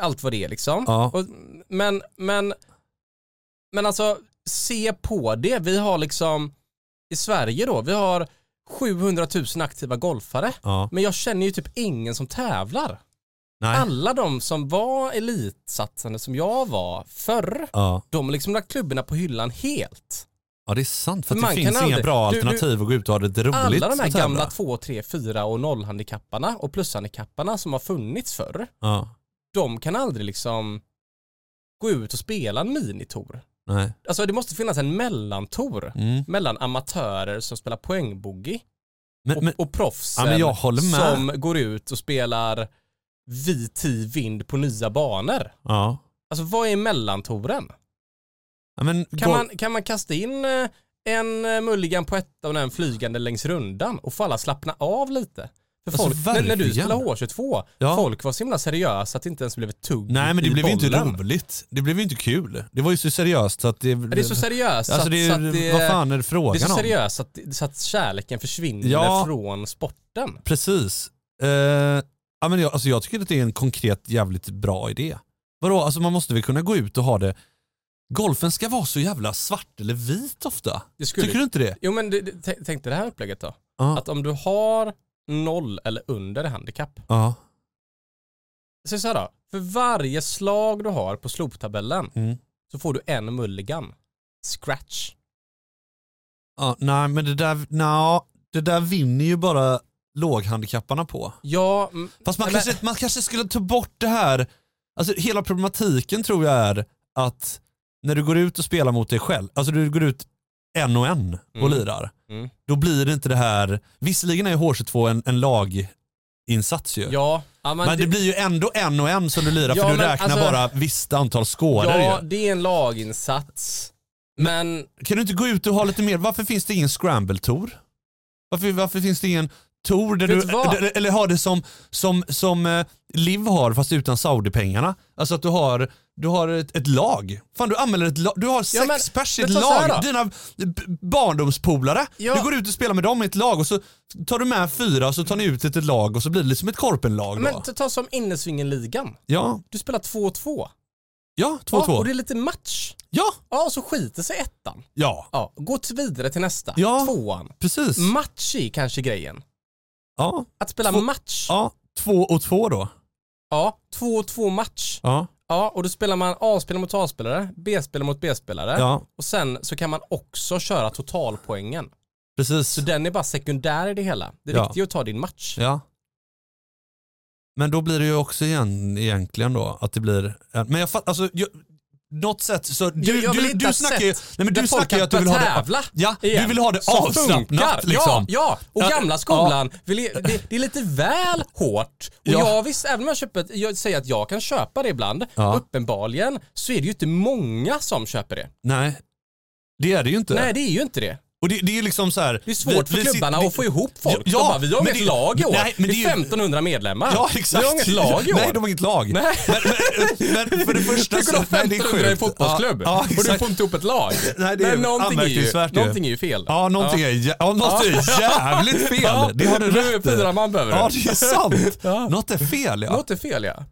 allt vad det är liksom.
Ja.
Och, men, men, men alltså se på det. Vi har liksom i Sverige då, vi har 700 000 aktiva golfare.
ja,
Men jag känner ju typ ingen som tävlar.
nej,
Alla de som var elitsatsande som jag var förr,
ja.
de har liksom lagt klubborna på hyllan helt.
Ja det är sant för att
Man
det
kan
finns inga
aldrig-
bra
Du- du-
alternativ att gå ut och ha det lite roligt.
Alla de
och
här
tävla.
gamla 2, 3, 4 och nollhandikapparna och plushandikapparna som har funnits förr,
Ja.
de kan aldrig liksom gå ut och spela en minitor.
Nej.
Alltså det måste finnas en mellantor
Mm.
mellan amatörer som spelar poängboogie
Men,
och,
men,
och proffsen
ja, men jag håller med.
som går ut och spelar VT vind på nya banor.
Ja.
Alltså vad är mellantoren?
Ja, men,
Kan,
gå-
man, kan man kasta in eh, en eh, mulligan på ettan och en flygande längs rundan och få alla slappna av lite? För
Alltså,
folk, när, när du
verkligen.
spelade H22,
Ja.
folk var så himla seriösa att det inte ens blev ett tugg
Nej men det
i
blev ju inte
bollen.
roligt. Det blev ju inte kul. Det var ju så seriöst så att det...
Det är så seriöst
Alltså
att,
det
så
är,
att det,
vad fan är det
det är
frågan
så
om?
seriöst att, så att kärleken försvinner
Ja.
från sporten.
Precis. Eh, ja, men jag, alltså jag tycker att det är en konkret jävligt bra idé. Vadå, alltså man måste väl kunna gå ut och ha det... Golfen ska vara så jävla svart eller vit ofta.
Det skulle-
Tycker du inte det?
Jo men det, det, tänk- tänk dig det här upplägget då.
Ja.
Att om du har noll eller under i handikapp.
Ja.
Så så här då, för varje slag du har på sloptabellen
Mm.
så får du en mulligan. Scratch.
ja. Nej men det där, no, det där vinner ju bara låghandikapparna på.
Ja, mm,
Fast man,
Nej, men-
kanske, man kanske skulle ta bort det här, alltså hela problematiken tror jag är att när du går ut och spelar mot dig själv, alltså du går ut en och en och
Mm.
lirar,
Mm.
då blir det inte det här, visserligen är ju H22 en, en laginsats ju,
ja, ja,
men, det, blir ju ändå en och en som du lirar
Ja,
för du
men
räknar
alltså-
bara visst antal skådor
ja,
ju.
det är en laginsats. Men
Kan du inte gå ut och ha lite mer, varför finns det ingen scramble-tour? Varför, varför finns det ingen tour där
Vet
du,
du vad?
eller- eller har det som, som, som eh, Liv har fast utan Saudi-pengarna? Alltså att du har, du har ett, ett lag. Fan du anmäler ett lag, du har sex
men-
pers i
men
ett
ta så här
lag.
då.
Dina b- barndomspolare.
Ja.
Du går ut och spelar med dem i ett lag och så tar du med fyra och så tar ni ut ett, ett lag och så blir det liksom ett korpenlag då.
men ta- ta som innesvingenligan.
ja,
Du spelar 2-2.
ja, två,
Ja,
två.
och det är lite match.
Ja,
Ja, och så skiter sig ettan.
ja,
Ja, gå till vidare till nästa.
Ja.
Tvåan.
precis.
Match är kanske grejen.
Ja,
Att spela
Två-
match. Ja.
ja, två och två då.
två och två match.
Ja,
Ja, och då spelar man A-spelare mot A-spelare, B-spelare mot B-spelare.
ja.
Och sen så kan man också köra totalpoängen.
Precis.
Så den är bara sekundär i det hela. Det
Ja.
riktiga är att ta din match.
Ja. Men då blir det ju också igen, egentligen då att det blir, men jag fattar, alltså, jag, något sätt så,
Jag-
du,
jag vill
du,
hitta
du snackar ju,
sätt
nej men
där
du
folk
snackar ju
kan
att du vill ha det,
tävla
ja, du
igen.
vill ha det
Som
avslappnat
funkar.
liksom.
Ja, ja,
Ja,
och gamla skolan, vill, det, det är lite väl hårt. Och
Ja.
jag visst, även om jag, köper, ett- jag säger att jag kan köpa det ibland,
Ja.
uppenbarligen, så är det ju inte många som köper det.
Nej, det är det ju inte.
Nej, det är ju inte det.
Och det, det är liksom så här,
Det är svårt
vi-
för
vi sit-
klubbarna
vi-
att få ihop folk.
Ja,
de bara, vi har
men
inget
det-
lag i år.
nej, men
det
det är
är
ju-
1500 medlemmar.
Ja exakt.
Vi har inget lag i år.
Nej de har inget lag.
Nej.
Men, men, men för det första
Tänk om du har
nej, det är
1500 i en
sjukt.
fotbollsklubb
Ja, ja,
och du
exakt.
får inte ihop ett lag.
Nej, det är
någonting, är ju,
anmärkningsvärt ju.
någonting är ju fel.
Ja, någonting är, jä- ja, något är jävligt fel.
Ja,
det har du
nu
rätt i.
firar man behöver.
Ja, det är sant.
(laughs) Ja.
Något är fel ja.
Något är fel ja.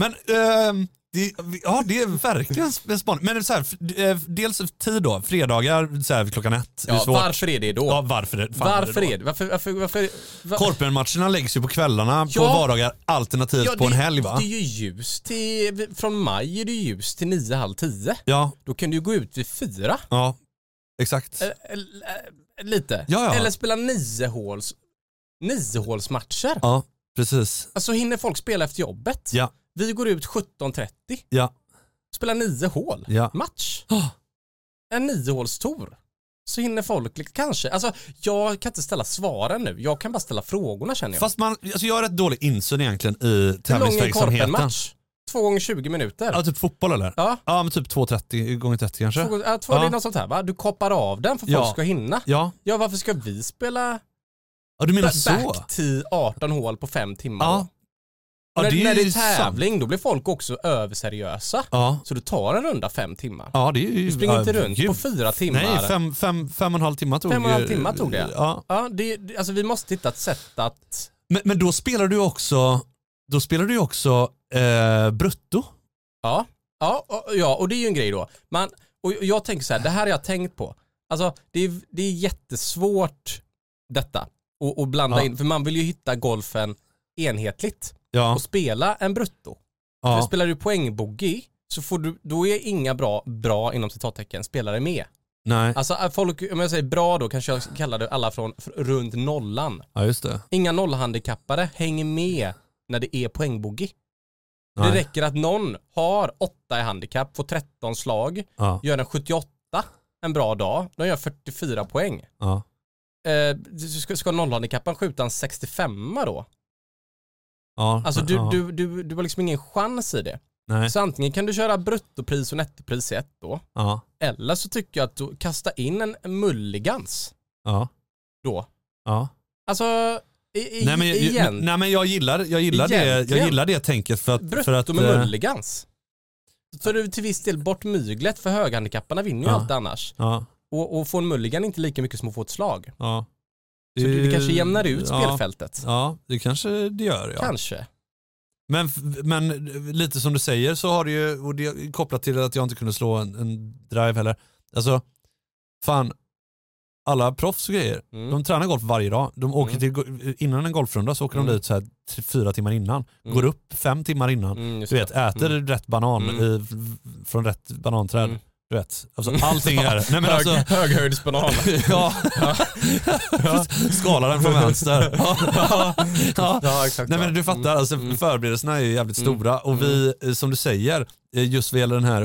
Men ehm, det, ja, det är verkligen en spaning. Men så här, f- eh, dels tid då, fredagar så här, klockan ett. det är
ja
svårt.
varför är det då?
Ja, varför det, fan
varför
det då?
är det? Varför, varför, varför, var-
Korpenmatcherna läggs ju på kvällarna på
Ja.
vardagar alternativt
Ja,
på en
det-
helg va?
Det är ju ljus till, från maj är det ljus till nio, halv tio.
Ja,
Då kan du gå ut vid fyra.
ja, exakt.
Eh, eh, eh, Lite.
Ja, ja.
Eller spela niohåls, niohålsmatcher.
Ja, precis.
Alltså hinner folk spela efter jobbet.
Ja,
Vi går ut 17.30.
ja,
spela nio hål
Ja.
match.
Ah.
En niohålstour. Så hinner folk li- kanske. Alltså jag kan inte ställa svaren nu. Jag kan bara ställa frågorna känner jag.
fast man, alltså jag har rätt dålig insyn egentligen i
Hur lång är
tävlingsverksamheten.
korpenmatch? Två gånger 20 minuter.
Ja, typ fotboll eller?
Ja.
Ja, men typ 2.30 gånger 30 kanske.
Två, gånger- ja, två,
Ja.
Det är något sånt här va? Du koppar av den för folk
Ja.
ska hinna.
Ja.
Ja varför ska vi spela
ja, du menar
ba-
så?
back till 18 hål på fem timmar?
Ja.
då?
ja
när,
ju
när det är
sant.
tävling då blir folk också överseriösa.
Ja.
Så du tar en runda fem timmar.
ja, det är ju...
Du springer
ja,
inte runt
gud.
på fyra timmar.
Nej, fem, fem, fem och en halv timme tog
Fem och en halv
ju-
timme tog det.
Ja.
Ja, det, det- alltså vi måste hitta ett sätt att...
Men, men då spelar du också, då spelar du också eh, brutto.
Ja, ja, och, ja, och det är ju en grej då. Man, och jag tänker så här, det här har jag tänkt på. Alltså det är, det är jättesvårt detta och, och blanda
Ja.
in, för man vill ju hitta golfen enhetligt
Ja.
och spela en brutto. För
ja.
spelar du poängbogey så får du, då är inga bra, bra inom citattecken, spelare med.
Nej,
Alltså att folk, om jag säger bra då kanske jag kallar det alla från fr- runt nollan.
ja just det.
Inga nollhandikappade hänger med när det är poängbogey.
Nej.
Det räcker att någon har 8 i handikapp, får 13 slag,
Ja,
gör en 78 en bra dag, de gör 44 poäng.
ja.
Eh, ska, ska nollhandikapparen skjuta en 65 då?
ja
Alltså du,
ja,
du, du, du har liksom ingen chans i det.
Nej.
Så antingen kan du köra bruttopris och nettopris i ett då,
Ja,
eller så tycker jag att du kasta in en mulligans
ja,
då.
ja.
Alltså, i, i,
Nej men, jag,
igen.
nej, men jag, gillar, jag, gillar det, jag
Egentligen.
gillar det tänket för att... För att
Brutto med
eh,
mulligans. Då tar du till viss del bort myglet för höghandikapparna vinner ju
Ja.
allt annars.
ja,
Och, och får en mulligan inte lika mycket som att få ett slag.
ja.
Så det, det kanske jämnar ut
ja,
spelfältet.
Ja, det kanske det gör. Ja.
Kanske.
Men, f- men lite som du säger så har det ju, och det är kopplat till att jag inte kunde slå en, en drive heller. Alltså, fan, alla proffs och grejer,
Mm.
de tränar golf varje dag. De åker
Mm.
till, go- innan en golfrunda så åker
Mm.
de dit så här tre, fyra timmar innan.
Mm.
Går upp fem timmar innan.
Mm, just
Du vet, äter rätt banan
Mm.
i, f- från rätt bananträd.
Mm.
Du vet, alltså,
Mm.
allting är...
(laughs)
Nej, men
Hög,
alltså,
Höghöjdsbanan.
ja. (laughs) Skala den från vänster. (laughs) Ja. Ja.
ja, exakt.
Nej men du fattar, alltså,
Mm.
förberedelserna är ju jävligt stora och vi, eh, som du säger, eh, just vad gäller den här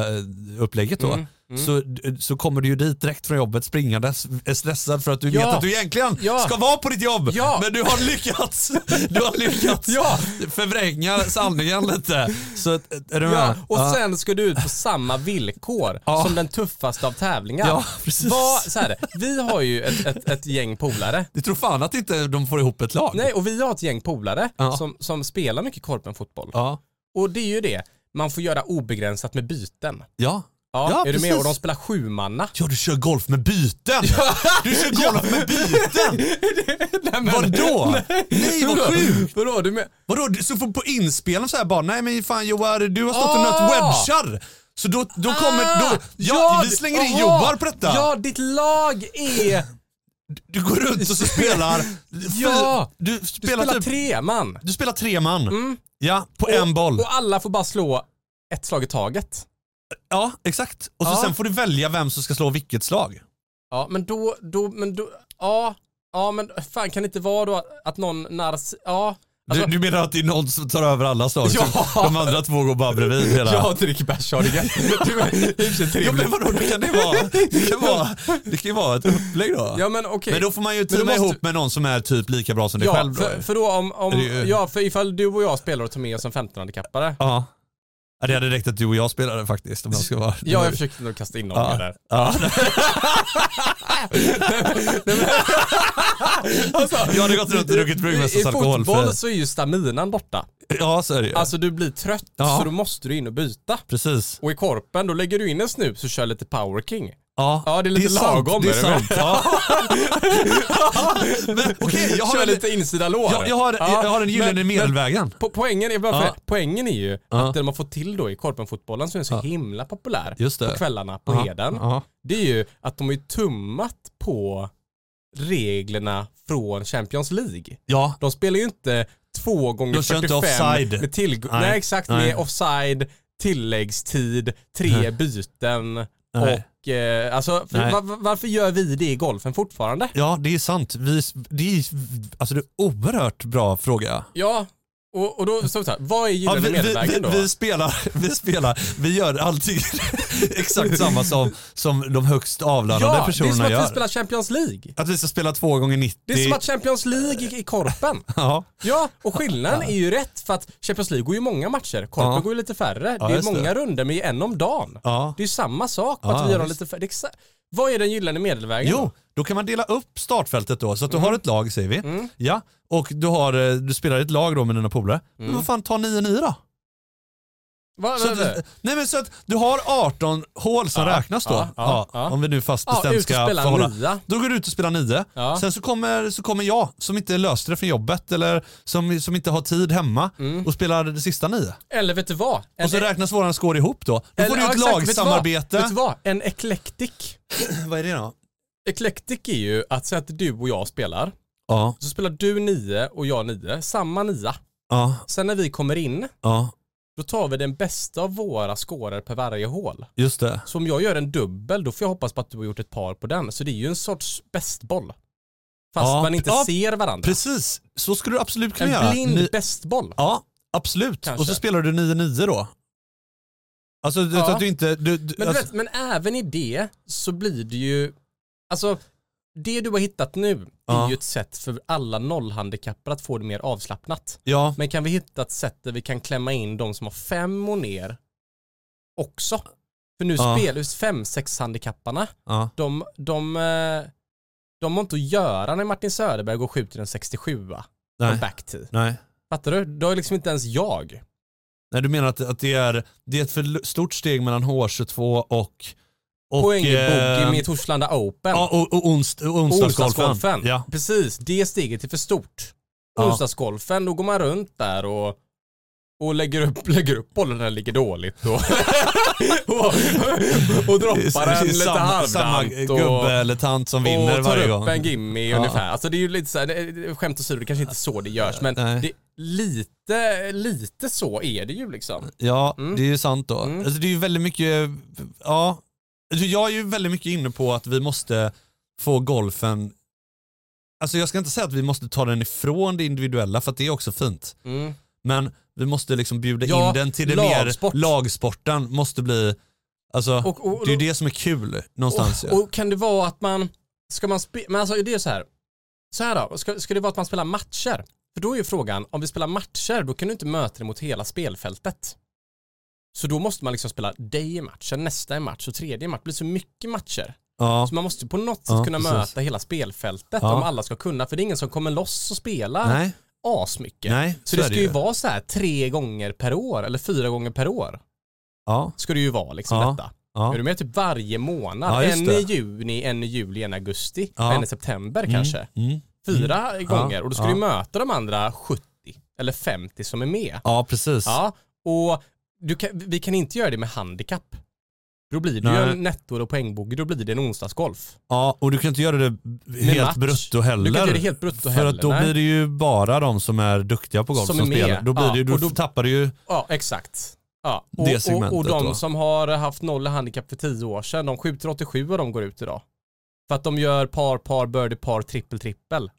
H22-upplägget då,
Mm, mm.
Så, d- så kommer du ju dit direkt från jobbet springandes, är stressad för att du
Ja.
vet att du egentligen
Ja.
ska vara på ditt jobb.
Ja.
Men du har lyckats, du har lyckats
Ja.
förvränga sanningen lite. Så att- är du med?
Ja, och
Ja.
sen ska du ut på samma villkor
Ja.
som den tuffaste av tävlingar.
Ja, precis.
Vad- så här, vi har ju ett, ett, ett gäng polare.
Du tror fan att inte de får ihop ett lag?
Nej, och vi har ett gäng polare
Ja.
som, som spelar mycket korpenfotboll.
Ja.
Och det är ju det, man får göra obegränsat med byten.
Ja.
Ja,
Ja,
är du med?
precis.
Och de
(laughs)
spelar sjumanna.
ja, du kör golf med byten! Du kör golf med byten!
Nej, men,
Vadå? Nej, vad sjukt!
Vadå, du med?
Vadå, du- så får på inspelaren så här bara, nej men fan Johar, du har stått och nött
Ah!
wedgar. Så då, då kommer, då, ja, vi
det-
slänger in
Ah, aha.
Johar på detta.
Ja, ditt lag är...
Du går runt
(laughs)
och så spelar,
Ja.
fy- du
Du
spelar,
spelar,
typ,
tre man.
du spelar tre man. Ja, på en boll.
Och alla får bara slå ett slag i taget.
ja, exakt. Och så
Ja.
sen får du välja vem som ska slå vilket slag.
Ja, men då... då, men då ja, ja, men fan kan det inte vara då att någon nars... Ja.
Du, du menar att det är någon som tar över alla slag?
Alltså- Ja.
Så De andra två går bara bredvid hela.
Jag dricker bärs har det (laughs) gött. Det är i och för sig
Ja,
trevligt.
men vadå, det kan det vara. Det kan vara, det kan ju vara ett upplägg då.
Ja men okej.
Men då får man ju
då
teama
måste-
ihop med någon som är typ lika bra som dig
Ja,
själv då.
för, för då om, om
Är det ju-
ja, för ifall du och jag spelar och tar med oss en 15-handikappare.
Ja. Ja, Det hade räckt att du och jag spelade faktiskt om jag ska vara...
Ja, jag försökte nog kasta in någon
Ja.
där. (laughs)
Ja.
Alltså,
Jag hade gått runt och druckit
I
bryggmästares alkohol. För...
fotboll så är ju staminan borta.
Ja, så är det ju.
Alltså du blir trött
Ja.
så då måste du in och byta.
Precis.
Och i korpen då lägger du in en snus och kör lite power king.
Ja,
Ja, det är lite
sant,
lagom,
Det är
är det
sant.
(laughs)
Ja. Men okej, jag har
kör
en-
lite insida lår.
jag, jag har,
Ja,
jag har den gyllene
men-
medelvägen.
Po poängen, är bara för,
Ja.
poängen är ju
Ja.
att det man får till då i korpenfotbollen som är så himla populär
Just det.
på kvällarna på
Ja,
Heden.
ja.
Det är ju att de har ju tummat på reglerna från Champions League.
Ja,
De spelar ju inte två
De
gånger
kör
45
inte offside.
med tillgång.
Nej.
Nej. exakt,
Nej.
med offside, tilläggstid, tre
Nej.
byten
Nej.
och eh, alltså för,
Nej.
va- va- varför gör vi det i golfen fortfarande?
ja, det är sant. Vi, det, är, alltså, det är oerhört bra fråga.
Ja, och, och då så, så här, vad är
Ja,
gyllene
vi, vi,
medelvägen då?
vi, vi, spelar, (laughs) vi spelar, vi gör allting (laughs) exakt samma som, som de högst avlönade
ja, det är som
personerna
att
gör.
vi spelar Champions League.
Att vi ska spela två gånger 90.
Det är som att Champions League gick i korpen.
Ja,
Ja, och skillnaden är ju rätt för att Champions League går ju många matcher. Korpen
Ja.
går ju lite färre.
Ja,
det är
just det.
många runder men en om dagen.
ja.
Det är ju samma sak
Ja,
att vi gör dem
visst.
lite färre. Det är exa- Vad är Mm. den gyllene medelvägen
Jo,
då?
då kan man dela upp startfältet då. Så att du har ett lag säger vi.
Mm.
Ja, och du, har, eh, du spelar i ett lag då med dina polare. Men
Mm.
vad fan, ta 9-9 då.
Va,
Så
va, va?
att, nej men så att du har 18 hål som
Ja,
räknas då.
ja, ja, ja.
Om vi nu fast
Ja,
bestämt
ut och
ska
spela
förhålla.
nia.
Då går du ut och spelar nio.
Ja.
Sen så kommer, så kommer jag som inte löste det från jobbet eller som, som inte har tid hemma och spelar det sista nio.
Mm. Eller vet du vad? En,
Och så räknas våran score ihop då. Då
eller-
får du
ja,
ett
exakt, vet du vad?
lagsamarbete.
Vet du vad? En eklektik.
Vad är det då?
Eklektik är ju att säga att du och jag spelar.
Ja,
Så spelar du nio och jag nio. Samma nia.
ja,
Sen när vi kommer in,
ja,
då tar vi den bästa av våra scorer per varje hål.
just det.
Så om jag gör en dubbel, då får jag hoppas på att du har gjort ett par på den. Så det är ju en sorts bästboll. Fast
Ja,
man inte
ja,
ser varandra.
Precis, så skulle du absolut kunna
En
göra.
blind
Ni-
bästboll.
Ja, Absolut,
Kanske.
och så spelar du 9-9 då. Alltså du,
Ja.
att du inte... Du, du,
Men, du
alltså,
vet, men även i det så blir det ju, alltså det du har hittat nu är
Ja.
ju ett sätt för alla nollhandikappade att få det mer avslappnat.
ja,
Men kan vi hitta ett sätt där vi kan klämma in de som har fem och ner också? För nu
Ja.
spelar ju fem, sex handikapparna,
ja,
de, de, eh, de har inte att göra när Martin Söderberg går och skjuter en 67a
nej,
på backtee.
nej.
Fattar du? Då är liksom inte ens jag.
nej. Du menar att, att det, är, det är ett för l- stort steg mellan H22 och... och
Poäng i
eh,
boogie med Torslanda Open.
Ja, och, och, onst, och onsdagsgolfen.
Onsdagsgolfen.
Ja.
Precis, det steget är för stort.
Ja.
Onsdagsgolfen, då går man runt där och, och lägger, upp, (laughs) lägger upp bollen när den ligger dåligt. Och, (laughs) och, och droppar den lite
samma, samma
halvdant. Och,
gubbe eller tant som vinner
och tar
varje
upp
gång.
en gimme
Ja.
ungefär. Alltså det är ju lite så här, det- skämt åsido, det kanske inte är så det görs. Men
Nej.
det, lite, lite så är det ju liksom.
Ja,
Mm.
det är ju sant då.
Mm.
Alltså, det är ju väldigt mycket, ja. Alltså, jag är ju väldigt mycket inne på att vi måste få golfen, alltså jag ska inte säga att vi måste ta den ifrån det individuella för att det är också fint.
Mm.
Men vi måste liksom bjuda
Ja,
in den till det
lagsport.
mer, lagsporten måste bli, alltså
Och- och-
det är ju det som är kul någonstans.
Och,
ja.
och kan det vara att man, ska man spela, men alltså det är ju så här, så här då, ska, ska det vara att man spelar matcher? För då är ju frågan, om vi spelar matcher då kan du inte möta dig mot hela spelfältet. Så då måste man liksom spela dig i matchen, nästa i match och tredje i match. Det blir så mycket matcher.
ja.
Så man måste ju på något sätt
Ja,
kunna
precis.
möta hela spelfältet
Ja.
om alla ska kunna. För det är ingen som kommer loss och spelar
Nej,
asmycket.
nej,
så det
är
ska ju vara så här tre gånger per år eller fyra gånger per år.
Ja,
Ska det ju vara liksom
Ja.
detta.
ja.
Är du med typ varje månad?
Ja, just
en
det.
i juni, en i juli, en i augusti,
Ja.
en i september kanske.
Mm. Mm.
Fyra gånger och då ska du
Ja.
möta de andra 70 eller 50 som är med.
Ja, precis.
Ja, och du kan, vi kan inte göra det med handikapp. Då blir det ju
Nej.
en netto och poängbogey, då blir det en onsdagsgolf.
Ja, och du kan inte göra det helt
match.
brutto heller.
Du kan inte göra det helt brutto
För
heller.
att då
nej.
blir det ju bara de som är duktiga på golf
Som
som,
är med.
spelar. Då, blir
Ja,
det, ju- då,
och då-
tappar du ju,
Ja, exakt. Ja,
Det
och, och, och
segmentet
de
då.
som har haft noll i handikapp för 10 år sedan, de skjuter 87 och de går ut idag. För att de gör par, par, birdie, par, trippel, trippel.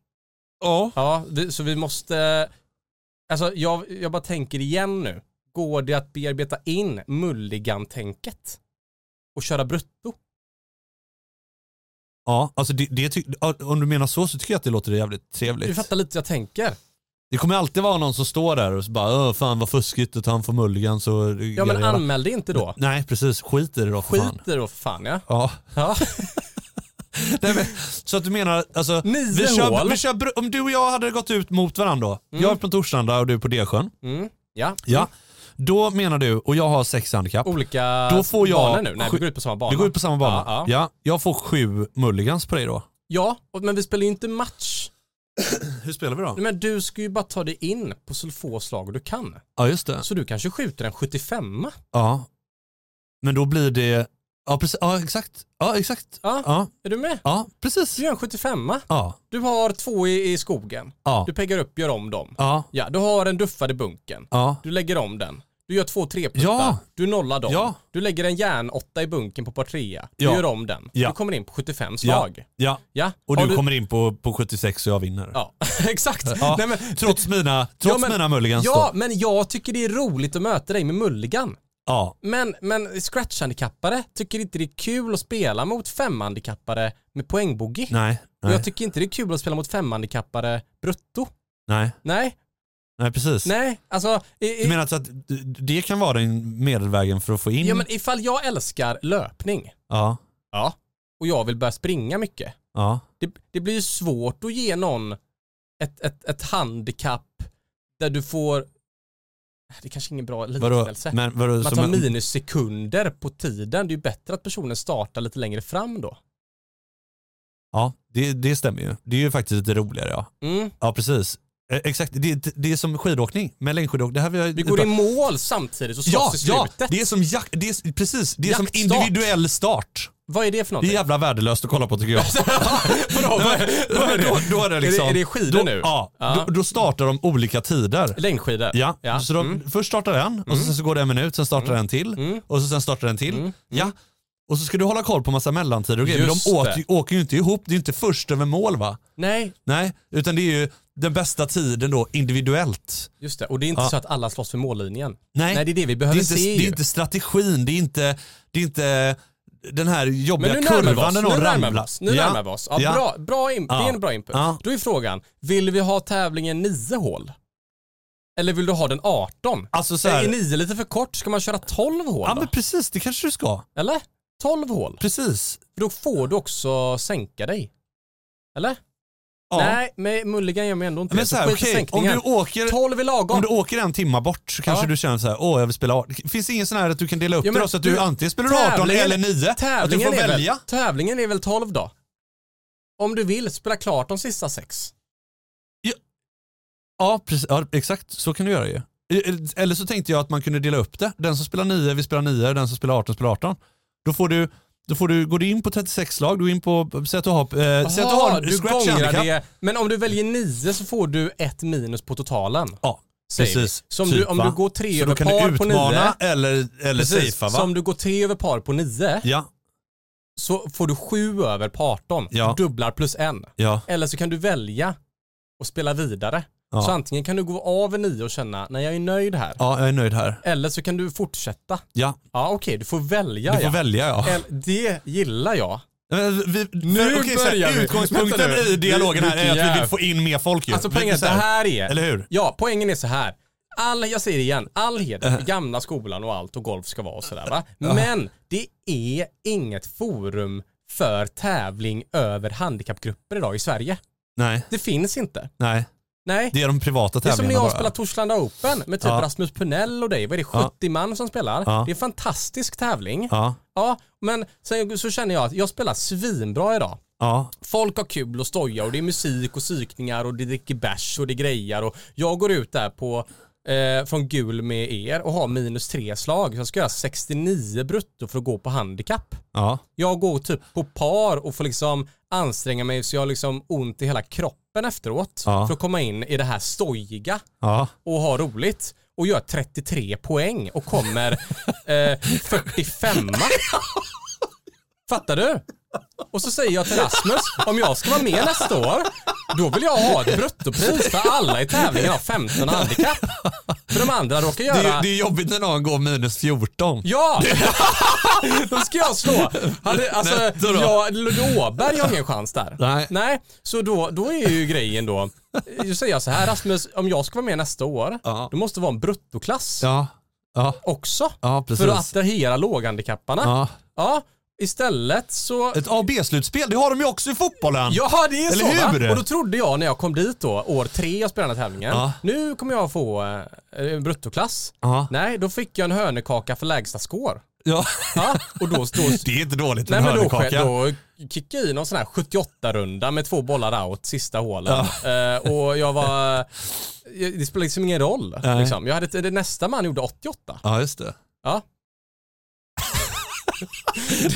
ja.
Ja, vi, så vi måste... Alltså jag, jag bara tänker igen nu. Går det att bearbeta in mulligan-tänket? Och köra brutto?
ja alltså det, det ty, ja, om du menar så så tycker jag att det låter jävligt
Du
trevligt.
fattar lite jag tänker.
Det kommer alltid vara någon som står där och så bara "Åh, fan vad fuskigt att han får mulligan så...
Ja men anmäl dig inte då.
Nej precis, skit i det då för fan.
Skit i det då för fan ja.
Ja.
ja.
Nej, men, så att du menar, alltså, (laughs)
Nio
vi kör,
hål.
vi kör, br- om du och jag hade gått ut mot varandra då. Jag är på Torslanda och du är på Desjön.
Mm. Ja.
Ja. Då menar du, och jag har sex handikapp.
Olika
Då får jag-
banor nu. Nej, vi går ut på samma bana.
Det går ut på samma bana.
Ja,
Ja,
ja.
jag får sju mulligans på dig då.
ja och- men vi spelar ju inte match.
Hur spelar vi då?
Nej, Men du ska ju bara ta dig in på så få slag du kan.
Ja, just det.
Så du kanske skjuter en 75
Ja. Men då blir det... Ja, precis. Ja, exakt. Ja, exakt.
Ja.
Ja,
Är du med?
ja precis.
Du gör en 75
Ja,
Du har två i, i skogen.
ja,
Du peggar upp, gör om dem.
ja,
Ja, du har en duffad i bunken.
ja.
Du lägger om den. Du gör två treputtar.
Ja.
Du nollar dem.
Ja.
Du lägger en järnåtta i bunken på par trea. Du
Ja.
gör om den.
Ja.
Du kommer in på 75
Ja,
slag.
ja.
Ja.
Och
Har
du, kommer in på, på 76 och jag vinner.
Ja, (laughs) exakt.
Ja,
Nej, men...
trots mina, trots
Ja, men-
mina mulligans
ja,
då.
men jag tycker det är roligt att möta dig med mulligan.
Ja.
Men, men scratchhandikappade tycker inte det är kul att spela mot femhandikappade med poängbogey.
Nej,
Och
nej,
jag tycker inte det är kul att spela mot femhandikappade brutto.
nej,
Nej,
nej, precis.
nej, alltså... i- i-
Du menar alltså att det kan vara den medelvägen för att få in...
Ja men ifall jag älskar löpning
ja,
ja. och jag vill börja springa mycket.
ja,
Det, det blir ju svårt att ge någon ett, ett, ett handikapp där du får, det är kanske ingen bra
vadå?
liknelse. Men,
Alltså, Men, vadå
man
som
tar
en-
minussekunder på tiden. Det är ju bättre att personen startar lite längre fram då.
Ja, det, det stämmer ju. Det är ju faktiskt lite roligare ja.
Mm.
Ja, precis. Eh, Exakt, det, det- det är som skidåkning, men längdskidåkning. Det här vi har
Vi går i mål samtidigt och slåss
Ja,
i
ja,
slutet.
det är som jak- det är, precis, det är som
Jaktstart.
individuell start.
Vad är det för
Det är
(laughs) någonting?
jävla värdelöst att kolla på tycker jag.
Vadå, (laughs) vad- vad är det?
(laughs) då, då är det liksom...
Är det- är det skidor
då,
nu?
Ja,
Ja.
Då, då startar de olika tider.
Längdskidor?
Ja,
Ja.
så de,
Mm.
först startar en och sen så går det en minut, sen startar en till
Mm.
och så sen startar en till. Ja. Och så ska du hålla koll på massa mellantider och grejer. men
Just
De
det.
åker, åker ju inte ihop, det är ju inte först över mål va?
Nej,
Nej, utan det är ju den bästa tiden då individuellt.
Just det, och det är inte
Ja.
så att alla slåss för mållinjen.
Nej,
Nej, det är det vi
det,
behöver
är inte,
se
det är
ju.
inte strategin, det är inte, det är inte den här jobbiga
Men nu närmar vi
kurvan
oss, nu
när någon
närmar vi
ramlar.
oss. Nu
Ja.
närmar vi oss. Ja,
Ja.
Bra, bra in, Det är en bra input.
Ja.
Då är frågan, vill vi ha tävlingen 9 hål? Eller vill du ha den 18?
Alltså så
Är
här,
9 lite för kort? Ska man köra 12 hål
ja
då?
men precis, det kanske du ska.
Eller? 12 hål?
Precis.
För då får du också sänka dig. Eller?
Ja.
Nej, men Mulligan gör mig ändå inte
men
det.
så
Så
här,
skit i
okej, om
sänkningen.
du åker
12 är lagom.
Om du åker en timma bort så kanske
Ja.
du känner så här, åh jag vill spela 18. Finns det ingen sån här att du kan dela upp
Ja,
det
men
då? Så att du,
du-
antingen spelar du 18
tävlingen-
eller 9? Att du
Tävlingen,
får
är
välja?
Väl, tävlingen är väl 12 då? Om du vill, spela klart de sista sex.
Ja, precis, ja, exakt så kan du göra ju. E- Eller så tänkte jag att man kunde dela upp det. Den som spelar 9 vill spela 9, den som spelar 18 spelar 18. Då får du, då får du, går du in på 36 lag, du går in på, säg att du har, eh, säg att du har
du
scratch
gångrar
handicap.
det. Men om du väljer 9 så får du ett minus på totalen.
Ja,
säger
precis.
vi. Så om
typ,
du- om
va?
du går tre
så
över
då kan
par
du
på
utmana
nio.
eller, eller safea va?
Så om du går tre över par på 9
Ja,
så får du 7 över på 18.
Ja.
Dubblar plus en.
ja,
Eller så kan du välja och spela vidare.
Ja.
Så antingen kan du gå av 9 och känna, nej jag är nöjd här.
ja, jag är nöjd här.
Eller så kan du fortsätta.
Ja,
Ja okej, du får välja
du får
ja.
välja ja.
Eller- Det gillar jag.
Men Eh, Vi,
Nu
okej,
börjar vi.
Utgångspunkten
Vänta nu.
i dialogen här är
Vilken
att vi
jäv-
vill få in mer folk ju.
Alltså poängen är att
så
det här
Eller
är...
hur?
Ja, poängen är så här. All, jag säger det igen, all heder
Äh.
för gamla skolan och allt och golf ska vara och
(laughs)
sådär va. Men det är inget forum för tävling över handikappgrupper idag i Sverige.
Nej,
Det finns inte.
nej.
Nej.
Det är de privata
Det är som när
tävlingarna
jag
bara.
spelar Torslanda Open med typ
Ja.
Rasmus Punell och dig. Vad är det, 70 man som spelar?
Ja.
Det är en fantastisk tävling. Ja,
Ja,
men sen så känner jag att jag spelar svinbra idag.
ja,
Folk har kul och stojar och det är musik och psykningar och det dricker bärs och det grejar och jag går ut där på eh, från gul med er och har minus tre slag. Så jag ska göra 69 brutto för att gå på handikapp.
ja.
Jag går typ på par och får liksom anstränga mig så jag har liksom ont i hela kroppen efteråt
Ja.
för att komma in i det här stojiga
ja.
och ha roligt och gör 33 poäng
(laughs)
och kommer eh, 45 Fattar du? Och så säger jag till Rasmus, om jag ska vara med nästa år, då vill jag ha ett bruttopris för alla i tävlingen har 15 handikapp. För de andra råkar
Det,
göra...
är, det är jobbigt när någon går minus 14.
Ja! (laughs) Då ska jag slå. Hade, alltså,
Netto då?
jag, Låberg har ingen chans där.
Nej.
Nej, så då, då är ju grejen då. Jag säger så här Rasmus, om jag ska vara med nästa år,
Ja.
då måste det vara en bruttoklass
Ja, ja,
också.
ja
För att
precis.
attrahera låghandikapparna. Ja.
Ja.
istället så...
Ett A och B-slutspel, det har de ju också i fotbollen.
Ja, det är
Eller
så
hur?
va? Och då trodde jag när jag kom dit då, år tre jag spelade den här tävlingen,
Ja.
nu kommer jag få eh, en bruttoklass.
Ja.
Nej, då fick jag en hönekaka för lägsta score.
Ja. (laughs)
Ja, och då, då,
Det är inte dåligt med
Nej
en
men då, sker-
hörnkaka.
då kickade jag i någon sån här 78-runda med två bollar out sista hålen. Eh, och jag var, det spelade liksom ingen roll.
Nej.
Liksom. Jag hade, ett- det nästa man gjorde 88.
Ja, just det.
Ja.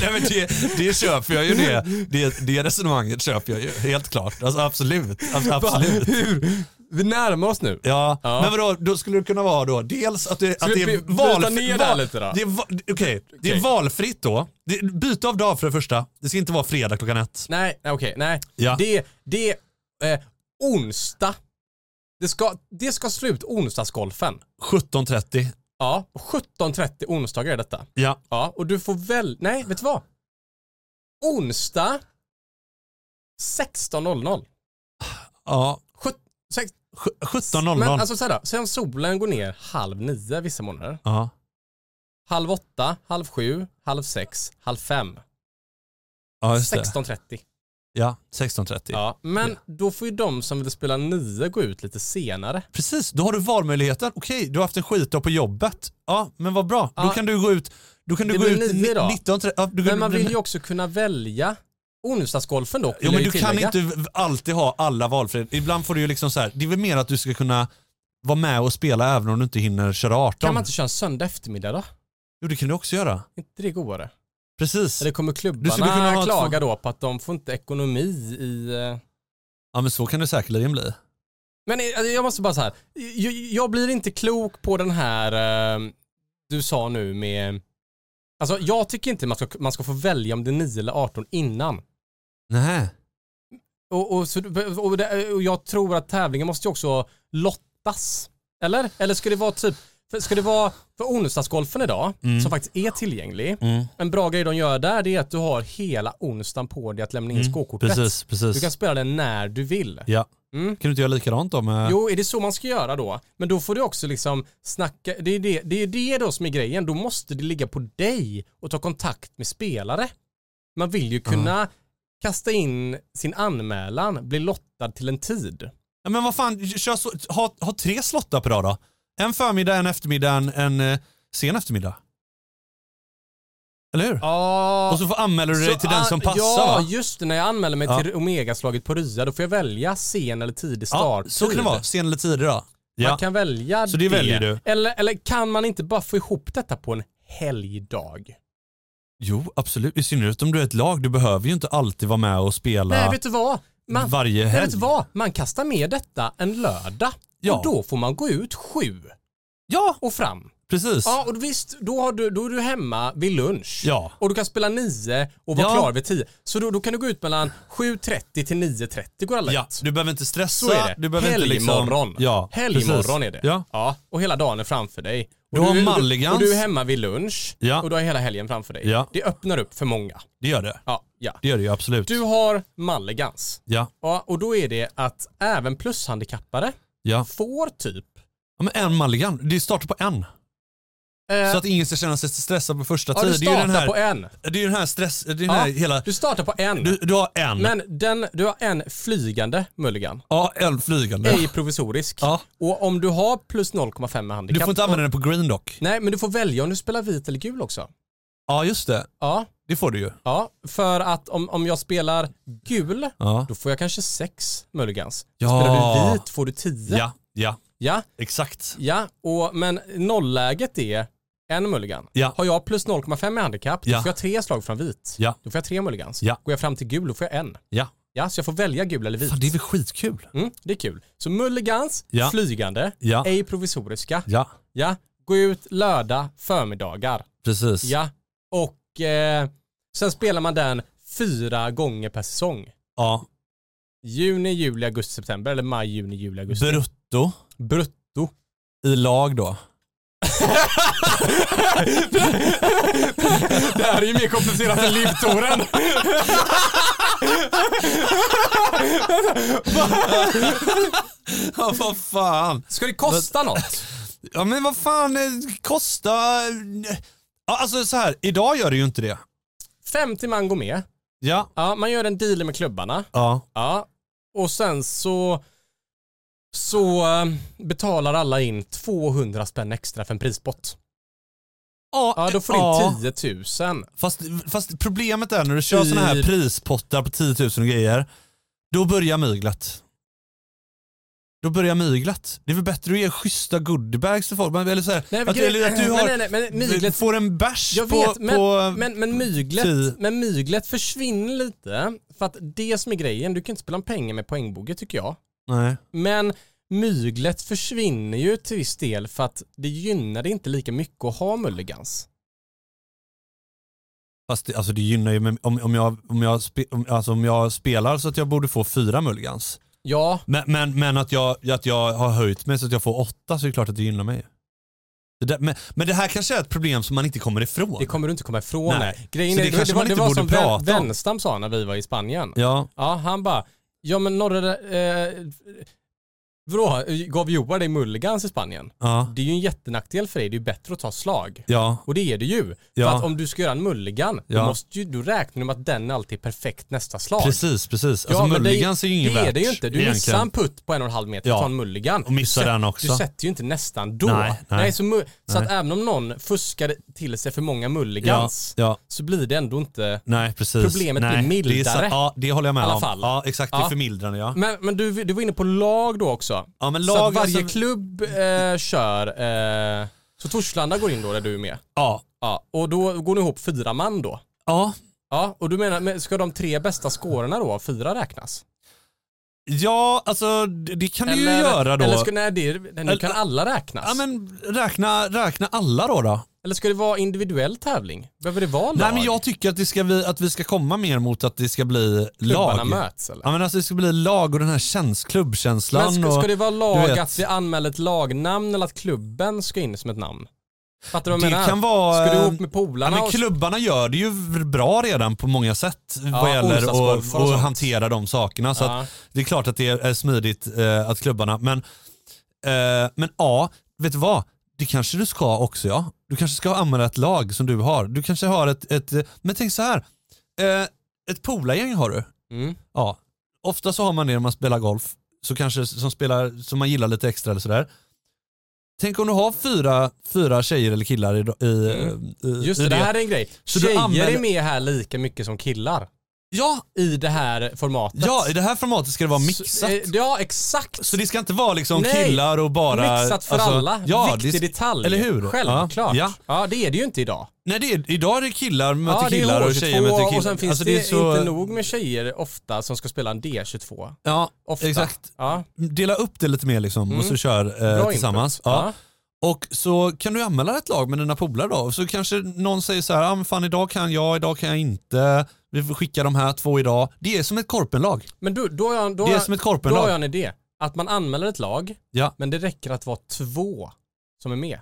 Nej, men det, det köper jag ju det. det. Det resonemanget köper jag ju, helt klart. Alltså, absolut. Alltså, absolut.
Hur? Vi närmar oss nu.
Ja,
Ja.
men vadå, då skulle det kunna vara då dels att det, att
vi
det är
by- bryta
valfritt.
ner det här lite då?
det är va- Okej, det är
Okej.
valfritt då. Det, byte av dag för det första. Det ska inte vara fredag klockan ett.
Nej, nej, okej, nej.
Ja.
Det, det är eh, onsdag. Det ska, det ska slut onsdagsgolfen.
17.30.
Ja, 17.30 onsdagar är detta.
Ja.
Ja, och du får väl... Nej, vet du vad? Onsdag 16.00.
ja.
Sjut- sex-
Sj- 17.00.
Men alltså såhär då, sen solen går ner halv nio vissa månader.
ja.
Halv åtta, halv sju, halv sex, halv fem.
ja, just det.
16.30.
Ja, 16.30.
Ja, men då får ju de som vill spela nio gå ut lite senare.
Precis, då har du valmöjligheten. Okej, du har haft en skitdag på jobbet. Ja, men vad bra. Då
Ja.
kan du gå ut Då kan du
Det
gå
blir
ut
nio då.
19.30. Ja, du kan-
Men man vill ju också kunna välja onsdagsgolfen dock.
Jo
vill
men
jag ju
du kan
tillägga.
inte v- alltid ha alla valfrihet. Ibland får du ju liksom så här, det är väl mer att du ska kunna vara med och spela även om du inte hinner köra 18.
Kan man inte köra en söndag eftermiddag då?
Jo det kan du också göra.
inte det godare?
Precis.
Eller kommer
skulle kunna ha
klubbarna
ett
klaga då på att de får inte ekonomi i... eh,
Ja men så kan det säkerligen bli.
Men eh, alltså, jag måste bara så här. Jag, jag blir inte klok på den här eh, du sa nu med... Alltså
Mm.
jag tycker inte man ska, man ska få välja om det är 9 eller 18 innan.
Nej.
Och, och, så, och, det, och jag tror att tävlingen måste ju också lottas. Eller? Eller ska det vara typ, för- ska det vara för onsdagsgolfen idag,
Mm.
som faktiskt är tillgänglig. En bra grej de gör där det är att du har hela onsdagen på dig att lämna in skåkortet.
Mm. Precis,
Du
precis.
kan spela den när du vill.
Ja.
Mm.
Kan du inte göra likadant då med...
Jo, är det så man ska göra då? Men då får du också liksom snacka, det är det, det, är det då som är grejen. Då måste det ligga på dig och ta kontakt med spelare. Man vill ju kunna kasta in sin anmälan, bli lottad till en tid.
Ja, men vad fan, kör så, ha, ha tre slottar per dag då. En förmiddag, en eftermiddag, en, en eh, sen eftermiddag. Eller hur?
Ja,
Ah. Och så får, anmäler du dig till den som passar
ah, Ja,
va?
just det. När jag anmäler mig
Ja.
till Omegaslaget på Rya, då får jag välja sen eller tidig
Ja,
starttid.
så kan det vara. Sen eller tidig då.
Man kan välja
Så det väljer du?
Eller, eller kan man inte bara få ihop detta på en helgdag?
Jo, absolut. I synnerhet om du är ett lag. Du behöver ju inte alltid vara med och spela
Nej, vet du vad? Man,
varje
Nej,
helg.
vet du vad? Man kastar med detta en lördag
Ja.
och då får man gå ut sju
Ja,
och fram.
precis.
Ja, och visst, då, har du, då är du hemma vid lunch
Ja.
och du kan spela nio och vara
Ja.
klar vid tio. Så då, då kan du gå ut mellan 7.30 till 9.30 går alla
Ja,
ut.
du behöver inte stressa.
Så är det.
Du behöver inte liksom...
Helgmorgon.
Ja,
Helgmorgon
precis.
är det.
Ja.
Och hela dagen är framför dig. Och
Du har
och
Mulligans.
Och du är hemma vid lunch
Ja.
och du har hela helgen framför dig.
Ja.
Det öppnar upp för många.
Det gör det.
Ja, ja.
Det gör det ju absolut.
Du har Malligans.
Ja,
Ja, och då är det att även plushandikappare
ja.
får typ
ja, men en Mulligan. Det startar på en.
Eh,
Så att ingen ska känna sig stressad på första
ja,
tid.
du
Det är ju
startar
den här,
på en.
det är ju den här stress... Det är den
Ja,
här hela...
Du startar på en.
Du, du har en.
men den, du har en flygande mulligan.
Ja, en flygande.
Ej provisorisk.
Ja.
Och om du har plus 0,5
Du
med handikapp.
får inte använda den på green dock.
Nej, men du får välja om du spelar vit eller gul också.
Ja, just det.
Ja,
Det får du ju.
ja. för att om, om jag spelar gul,
Ja.
då får jag kanske sex mulligans.
Ja.
Spelar du vit får du tio.
Ja, ja.
ja.
Exakt.
Ja, och, men nollläget är en mulligan.
Ja.
Har jag plus 0,5 i handikapp, då
Ja.
får jag tre slag från vit.
Ja.
Då får jag tre mulligans.
Ja.
Går jag fram till gul, då får jag en.
Ja.
Ja, så jag får välja gul eller vit.
Fan, det är väl skitkul?
Mm, det är kul. Så mulligans,
Ja.
flygande,
Ja.
ej provisoriska.
Ja,
Ja. Gå ut lördag, förmiddagar.
precis.
Ja. Och eh, sen spelar man den fyra gånger per säsong.
Ja.
Juni, juli, augusti, september. Eller maj, juni, juli, augusti.
Brutto
Brutto.
i lag då.
Det här är ju mer komplicerat än livtoren.
(laughs) Ja, vad fan.
Ska det kosta något?
Ja, men vad fan eh, kosta... eh, Ja, alltså så här, idag gör det ju inte det.
50 man går med.
Ja.
Ja, man gör en deal med klubbarna.
Ja.
Ja, och sen så så eh, betalar alla in 200 spänn extra för en prispott. Ja, då får
ja.
du in 10 000.
Fast, fast problemet är när du kör såna här
I-
prispottar på 10 000 och grejer, då börjar myglet. Då börjar myglet. Det är väl bättre att ge schyssta goodiebags till folk. men- Eller, så här,
Nej, men
att,
grej-
eller att du har,
nej, nej, nej, men (laughs) myglet-
får en bärs
Jag
på...
vet, men,
på
men, men,
Ti-
myglet, men myglet försvinner lite. För att det som är grejen, du kan inte spela om pengar med poängbåge tycker jag.
nej.
Men myglet försvinner ju till viss del för att det gynnar det inte lika mycket att ha mulligans.
Fast det, alltså det gynnar ju, men om, om, jag, om, jag spe, om, alltså om jag spelar så att jag borde få fyra mulligans.
Ja,
Men, men, men att, jag, att jag har höjt mig så att jag får åtta så är det klart att det gynnar mig. Det där, men, men det här kanske är ett problem som man inte kommer ifrån.
det kommer du inte komma ifrån.
Nej.
Grejen
Så
är,
det
det,
kanske
det, var,
man
det
inte
var
borde
som
prata
Ven-
om.
Wennstam sa när vi var i Spanien.
Ja,
Ja, han bara, ja men norra, eh, vadå, gav Joar dig mulligans i Spanien?
ja,
Det är ju en jättenackdel för dig, det är ju bättre att ta slag.
ja.
Och det är det ju.
Ja.
För att om du ska göra en mulligan,
Ja.
då, måste ju, då räknar du med att den alltid är perfekt nästa slag.
Precis, precis. Alltså
Ja, men
mulligans
det-
är ju ingen
Det är
värt
det ju inte. Du
egentligen.
missar en putt på en och en halv meter
Ja.
och tar en mulligan.
Och missar
du
den
sätt-
också.
Du sätter ju inte nästan då.
Nej, nej.
så, mu- så att även om någon fuskar till sig för många
ja,
mulligans
ja,
så blir det ändå inte...
nej precis.
Problemet
nej,
blir mildare.
Det är sant. ja, det håller jag med
I alla
om.
fall.
Ja, exakt. Det är
Ja.
förmildrande ja.
Men, men du, du var inne på lag då också.
Ja, men
så
lag,
att varje
alltså-
klubb eh, kör. Eh, så Torslanda går in då där du är med.
Ja,
Ja, och då går ni ihop fyra man då.
ja,
Ja, och du menar, men ska de tre bästa skårarna då, fyra räknas?
ja alltså det det kan du ju göra då.
Eller ska, nej, det, är- nej, nu kan alla räknas.
Ja men räkna, räkna alla då då.
Eller ska det vara individuell tävling? Behöver det vara lag?
Nej men jag tycker att, det ska bli, att vi ska komma mer mot att det ska bli
Klubbarna
lag.
möts eller?
Ja men alltså det ska bli lag och den här käns, klubbkänslan.
Men ska,
och,
ska det vara lag
vet.
att vi anmäler ett lagnamn eller att klubben ska in som ett namn? Fattar du vad jag
det
menar?
kan vara...
ska du ihop
eh,
med polarna?
Ja, men
och-
klubbarna gör det ju bra redan på många sätt vad gäller att
onsdagsgolfar och
och
sånt.
hantera de sakerna. Så att
ja.
det är klart att det är smidigt eh, att klubbarna, men, eh, men ja, vet du vad? Det kanske du ska också ja. Du kanske ska använda ett lag som du har. Du kanske har ett, ett eh, men tänk så här. Eh, ett polargäng har du.
mm.
Ja, ofta så har man det när man spelar golf, så kanske som, spelar, som man gillar lite extra eller sådär. Tänk om du har fyra, fyra tjejer eller killar i, i,
Mm.
i,
Just
i
det, det här är en grej.
Så du
Tjejer
anmäler-
är med här lika mycket som killar
Ja,
i det här formatet.
ja, i det här formatet ska det vara
Så,
mixat.
eh, ja, exakt.
Så det ska inte vara liksom
Nej.
killar och bara...
Mixat för
alltså,
alla.
Ja,
Viktig
det,
detalj.
eller hur?
Självklart.
Ja,
Ja. det är det ju inte idag.
nej, det är, idag är det killar möter
ja, det är
killar och
H22
tjejer möter killar.
och sen finns
Alltså,
det,
är så-
inte nog med tjejer ofta som ska spela en D22.
Ja,
Ofta.
exakt.
Ja,
Dela upp det lite mer liksom och
Mm.
så kör eh,
bra
tillsammans.
input.
Ja. Och så kan du anmäla ett lag med dina polare då. Så kanske någon säger så här, ah, men fan idag kan jag, idag kan jag inte. Vi får skicka de här två idag. Det är som ett korpenlag.
Men du, då har jag, då
Det
har
är
jag,
som ett
då har
korpenlag.
jag en idé. Att man anmäler ett lag,
Ja.
men det räcker att vara två som är med.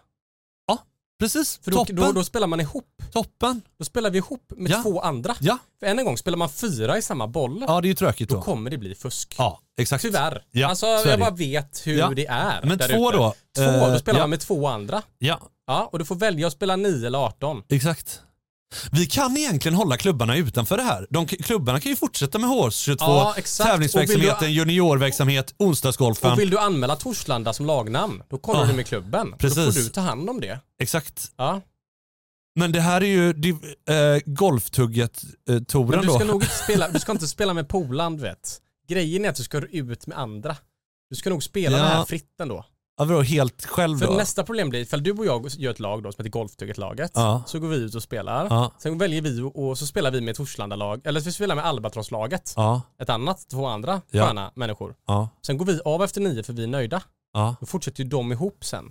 Precis,
För då,
toppen.
då, då spelar man ihop.
toppen.
Då spelar vi ihop med
Ja.
två andra.
Ja.
För än en gång, spelar man fyra i samma boll,
ja, det är ju tråkigt
då
då.
kommer det bli fusk.
Ja, exakt.
Tyvärr.
Ja,
alltså,
så är det ju.
jag bara vet hur
Ja.
det är
Men
där
två
ute.
då.
Två,
Eh,
då spelar
ja,
man med två andra.
Ja,
Ja, och du får välja att spela 9 eller 18.
exakt. Vi kan egentligen hålla klubbarna utanför det här. De, klubbarna kan ju fortsätta med HS22,
Ja, exakt. Och
tävlingsverksamheten,
vill
juniorverksamhet, onsdagsgolfen.
Och vill du anmäla Torslanda som lagnamn, då kollar
Ja.
du med klubben. Då
Precis.
får du ta hand om det.
Exakt.
Ja.
Men det här är ju det, eh,
Men
golftugget-touren
du ska
då. (laughs)
nog inte spela, du ska inte spela med polaren, du vet. Grejen är att du ska ut med andra. Du ska nog spela
Ja.
det här fritt ändå.
Ja, vadå, helt själv
För
då?
nästa problem blir, ifall du och jag gör ett lag då som heter Golftyget-laget,
Ja.
så går vi ut och spelar.
Ja.
Sen väljer vi och och så spelar vi med Torslanda-lag, eller så spelar vi med Albatross-laget.
Ja,
Ett annat, två andra
Ja.
sköna människor.
ja,
Sen går vi av efter nio för vi är nöjda.
ja.
Då fortsätter ju de ihop sen.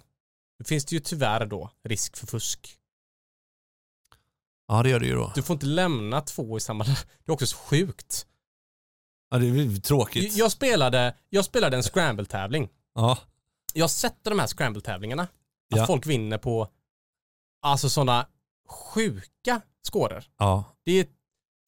Då finns det ju tyvärr då risk för fusk.
Ja, det gör det ju då.
Du får inte lämna två i samma... Det är också så sjukt.
Ja, det är ju
Jag
tråkigt.
jag spelade, jag spelade en scramble-tävling.
Ja,
Jag har sett de här scramble-tävlingarna. Att
Ja.
folk vinner på alltså sådana sjuka skåror.
ja,
Det är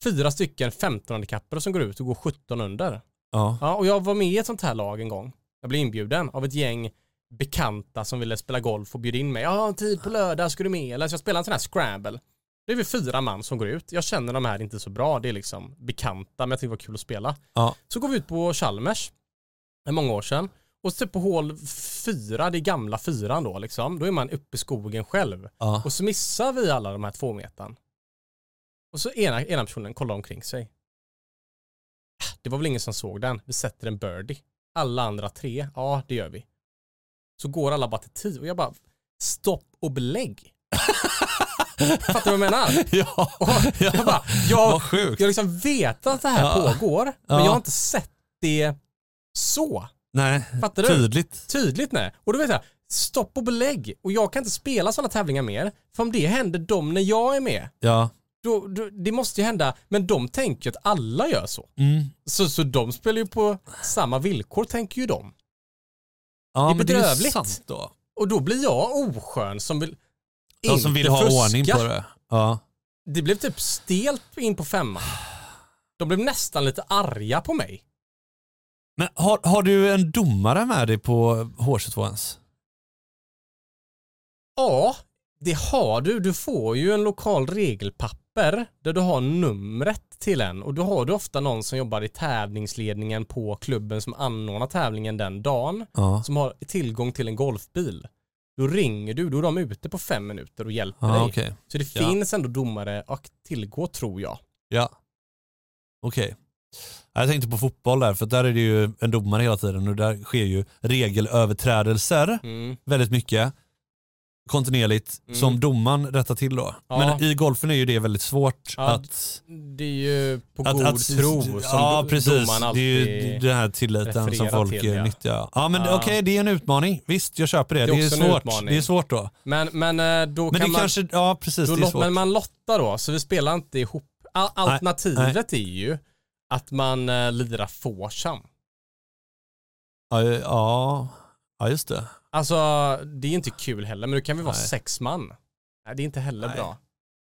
fyra stycken 15 kappare som går ut och går 17 under.
ja.
Ja, och jag var med i ett sånt här lag en gång. Jag blev inbjuden av ett gäng bekanta som ville spela golf och bjöd in mig. Ja, tid på lördag, ska du med? Eller så jag spelar en sån här scramble. Det är vi fyra man som går ut. Jag känner de här inte så bra. Det är liksom bekanta, men jag tycker det var kul att spela.
Ja.
Så går vi ut på Chalmers, det är många år sedan. Och så typ på hål fyra, det är gamla fyran då liksom, då är man uppe i skogen själv. (laughs)
ja.
Och så missar vi alla de här två metan. Och så ena, ena personen kollar omkring sig. Ah, Det var väl ingen som såg den. Vi sätter en birdie. Alla andra tre, ja det gör vi. Så går alla bara till tio och jag bara, stopp
(laughs)
och belägg. Fattar du vad jag menar?
ja.
Och jag bara, jag,
Vad sjukt.
jag liksom vet att det här
Ja.
pågår, men
Ja.
jag har inte sett det så.
Nej,
Fattar du?
tydligt.
Tydligt nej. Och då vet jag, stopp och belägg. Och jag kan inte spela sådana tävlingar mer. För om det händer dem när jag är med,
Ja.
då, då, det måste ju hända. Men de tänker ju att alla gör så.
Mm.
Så, så de spelar ju på samma villkor, tänker ju de.
Ja,
Det är
men Det är ju
bedrövligt.
sant då.
Och då blir jag oskön som vill
De som vill
inte
ha
fuska.
ordning på det. Ja.
Det blev typ stelt in på femman. De blev nästan lite arga på mig.
Men har, har du en domare med dig på H22 ens?
Ja, det har du. Du får ju en lokal regelpapper där du har numret till en och då har du ofta någon som jobbar i tävlingsledningen på klubben som anordnar tävlingen den dagen
Ja.
som har tillgång till en golfbil. Då ringer du, då är de ute på fem minuter och hjälper
Ja,
dig.
Ah, okej.
Så det
Ja.
finns ändå domare att tillgå tror jag.
Ja. Okej. Jag tänkte på fotboll där, för där är det ju en domare hela tiden och där sker ju regelöverträdelser
Mm.
väldigt mycket. kontinuerligt
Mm.
som domaren rättar till då.
Ja.
Men i golfen är ju det väldigt svårt
Ja,
att...
Det är ju på
att,
god
att,
tro som
ja,
do-
precis.
domaren
Det är
alltid...
ju den här tilliten som
refererar
folk
till, ja.
nyttjar. Ja, men
Ja.
okej, det är en utmaning. Visst, jag köper det.
Det
Det
är
är,
också en
svårt.
utmaning.
Det är svårt då.
Men, men eh, då
Men
kan
det
man...
kanske, ja precis,
Då
det är
lot,
svårt.
men man lottar då, så vi spelar inte ihop. Al- alternativet är ju att man eh, lirar foursome.
Ja, ja, ja, just det.
Alltså, det är inte kul heller, men då kan vi vara
Nej.
sex man. Nej, det är inte heller
Nej.
bra.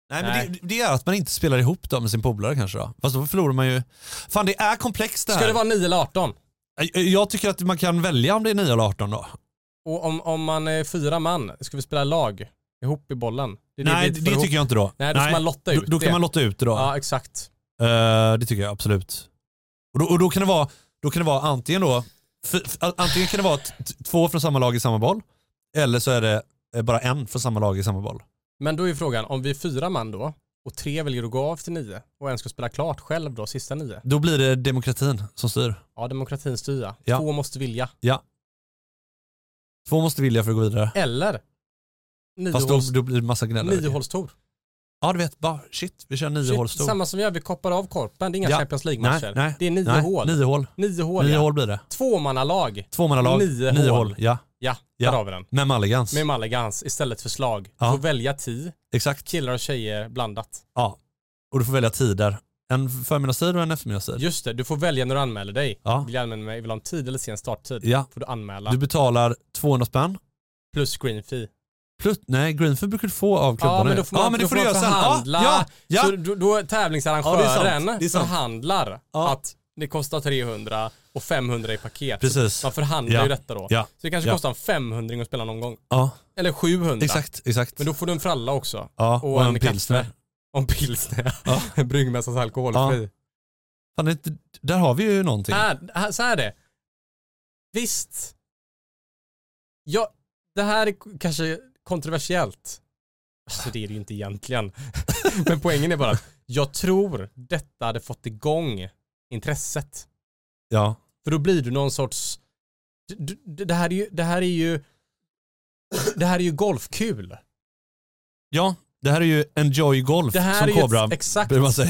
Nej,
Nej.
men det, det är att man inte spelar ihop då med sin polare kanske då. Fast då förlorar man ju. Fan det är komplext det här.
Ska det vara 9 eller 18?
Jag- Jag tycker att man kan välja om det är 9 eller 18 då.
Och om, om man är fyra man, ska vi spela lag ihop i bollen? Det är vi
Nej,
inte
det,
får ihop.
tycker jag inte då.
Nej, då ska man lotta ut
Då, då
det.
kan man lotta ut det då.
Ja, exakt.
Eh, det tycker jag absolut. Och då, och då kan det vara, då kan det vara antingen då, f- f- antingen kan det vara t- t- två från samma lag i samma boll, eller så är det eh, bara en från samma lag i samma boll.
Men då är ju frågan, om vi är fyra man då, och tre väljer att gå av till nio, och en ska spela klart själv då, sista nio.
Då blir det demokratin som styr.
Ja, demokratin styr ja.
Ja.
Två måste vilja.
Två måste vilja för att gå vidare.
Eller
Fast då,
niohåls-
då blir det massa gnällare.
niohålstor.
Ja du vet, bara shit, vi kör nio
Shit,
hål stor.
Samma som vi gör, vi koppar av korpen. Det är inga
Ja.
Champions
Nej,
League-matcher.
nej,
det är nio
Nej,
hål.
Nio hål.
Nio hål,
Nio
ja.
hål blir det.
Tvåmannalag.
Tvåmannalag,
Nio
nio,
hål.
hål. Ja,
Ja,
Ja.
där har vi den.
med mulligans.
Med mulligans istället för slag.
Ja.
Får välja tid,
Exakt.
killar och tjejer blandat.
Ja. Och du får välja tider. En förmiddagstid och en eftermiddagstid.
Just det, du får välja när du anmäler dig.
Ja.
Vill jag anmäla mig, vill ha en tid eller sen starttid?
ja.
Får du anmäla.
Du betalar 200 spänn.
Plus green fee.
Plus, nej, Greenfield brukar du få av klubbarna.
Ja men
ju.
då får man,
ja, men det
då
får du
man
göra sen. Ja,
förhandla.
ja, ja.
Så då, då tävlingsarrangören
Ja, det är sant. Det är sant.
förhandlar
Ja.
att det kostar 300 och 500 i paket.
Precis.
Man förhandlar
Ja.
ju detta då.
Ja.
Så det kanske
Ja.
kostar en 500 att spela någon gång.
ja.
Eller 700.
Exakt, exakt.
Men då får du en fralla också.
ja,
och en kaffe. Om pilsner.
Ja.
(laughs) Bryggmästarens alkoholfri.
Fan, det är inte- där har vi ju någonting.
Här, här, så här är det. Visst. Ja, det här är k- kanske kontroversiellt. Alltså det är det ju inte egentligen. (laughs) Men poängen är bara att jag tror detta hade fått igång intresset.
Ja.
För då blir du någon sorts... d- d- d- Det här är ju... Det här är ju, det här är ju golfkul.
ja, det här är ju Enjoy Golf
Det här
som
är ju
Kobra
ett, exakt.
brukar man
(laughs)
säga.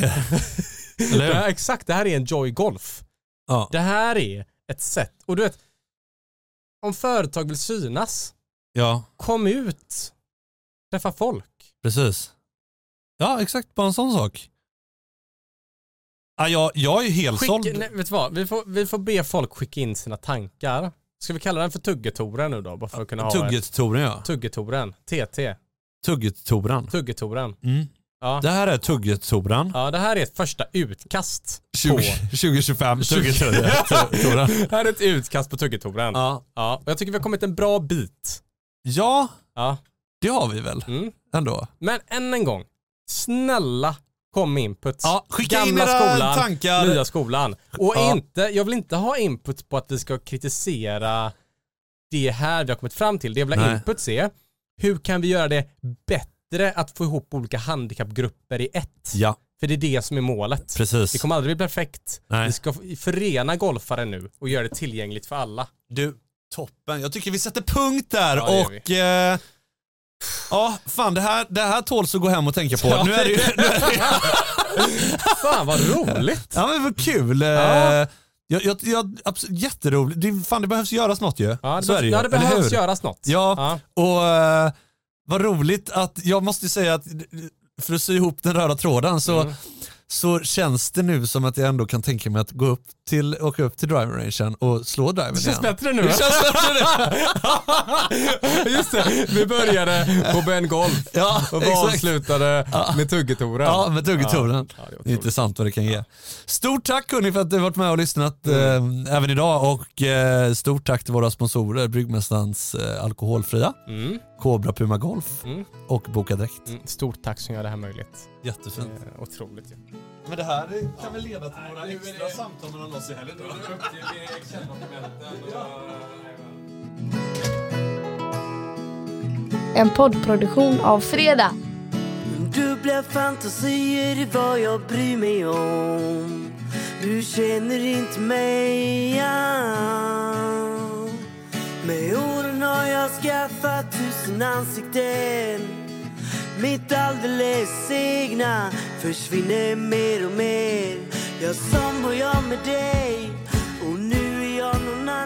Eller hur?
det här, exakt, det här är en Joy Golf.
Ja.
Det här är ett sätt. Och du vet, om företag vill synas,
ja,
kom ut. Träffa folk.
precis. Ja, exakt. Bara en sån sak. Ja, jag, jag är helt
Skicka,
såld.
nej, vet du vad? Vi får, vi får be folk skicka in sina tankar. Ska vi kalla den för Tuggetoren nu då? Bara för att kunna ha en-
Tugget-Toren ja.
Tuggetoren. TT.
Tugget-Toren.
Tuggetoren.
Mm.
Ja.
Det här är Tugget-Toren.
ja, det här är ett första utkast.
(laughs) 2025
(laughs)
Tugget-Toren.
Det här är ett utkast på Tuggetoren. Ja.
ja.
och jag tycker vi har kommit en bra bit.
ja,
Ja.
det har vi väl
Mm.
ändå.
Men än en gång, snälla kom med input.
Ja, skicka
Gamla
in era
skolan,
tankar.
Nya skolan. Och
Ja.
inte, jag vill inte ha input på att vi ska kritisera det här vi har kommit fram till. Det jag vill ha
Nej.
input är, hur kan vi göra det bättre att få ihop olika handikappgrupper i ett?
Ja,
För det är det som är målet.
precis.
Det kommer aldrig bli perfekt.
Nej.
Vi ska förena golfare nu och göra det tillgängligt för alla.
Du, toppen. Jag tycker vi sätter punkt där
Ja, det gör
och... Eh, ja, fan det här, det här tåls att gå hem och tänka på.
(laughs) Ja.
Nu är det ju... Nu är det ju
(laughs) Fan vad roligt!
ja men vad kul. Eh,
Ja.
Jag, jag, jag, absolut, jätteroligt. Det, fan det behövs göras något ju.
Ja, det,
Så är det ju.
ja, det
eller
behövs
hur?
göras något.
Ja,
Ja.
och eh, vad roligt att, jag måste ju säga att för att sy ihop den röda tråden så,
Mm.
så känns det nu som att jag ändå kan tänka mig att gå upp till, åka upp till driving rangen och slå driven
Det känns
igen.
bättre nu. va?
Det känns bättre nu.
(laughs) Just det, vi började på Ben Golf
Ja,
och vi
exakt.
avslutade med tuggetoren.
Ja, med tuggetonen.
Ja, det är
det är
otroligt.
intressant vad det kan ge. Stort tack hörni för att du har varit med och lyssnat eh, även idag och eh, stort tack till våra sponsorer Bryggmästarens eh, Alkoholfria,
Mm,
Cobra Puma Golf
Mm.
och Boka Direkt.
mm, stort tack som gör det här möjligt.
Jättefint.
Eh, Otroligt ju.
Men det här kan väl leda till några extra samtal mellan oss i helgen då?
En poddproduktion av Fredag.
Dubbla fantasier är vad jag bryr mig om Du känner inte mig ja. Med åren Sen har jag skaffat tusen ansikten Mitt alldeles egna försvinner mer och mer Jag sambojar med dig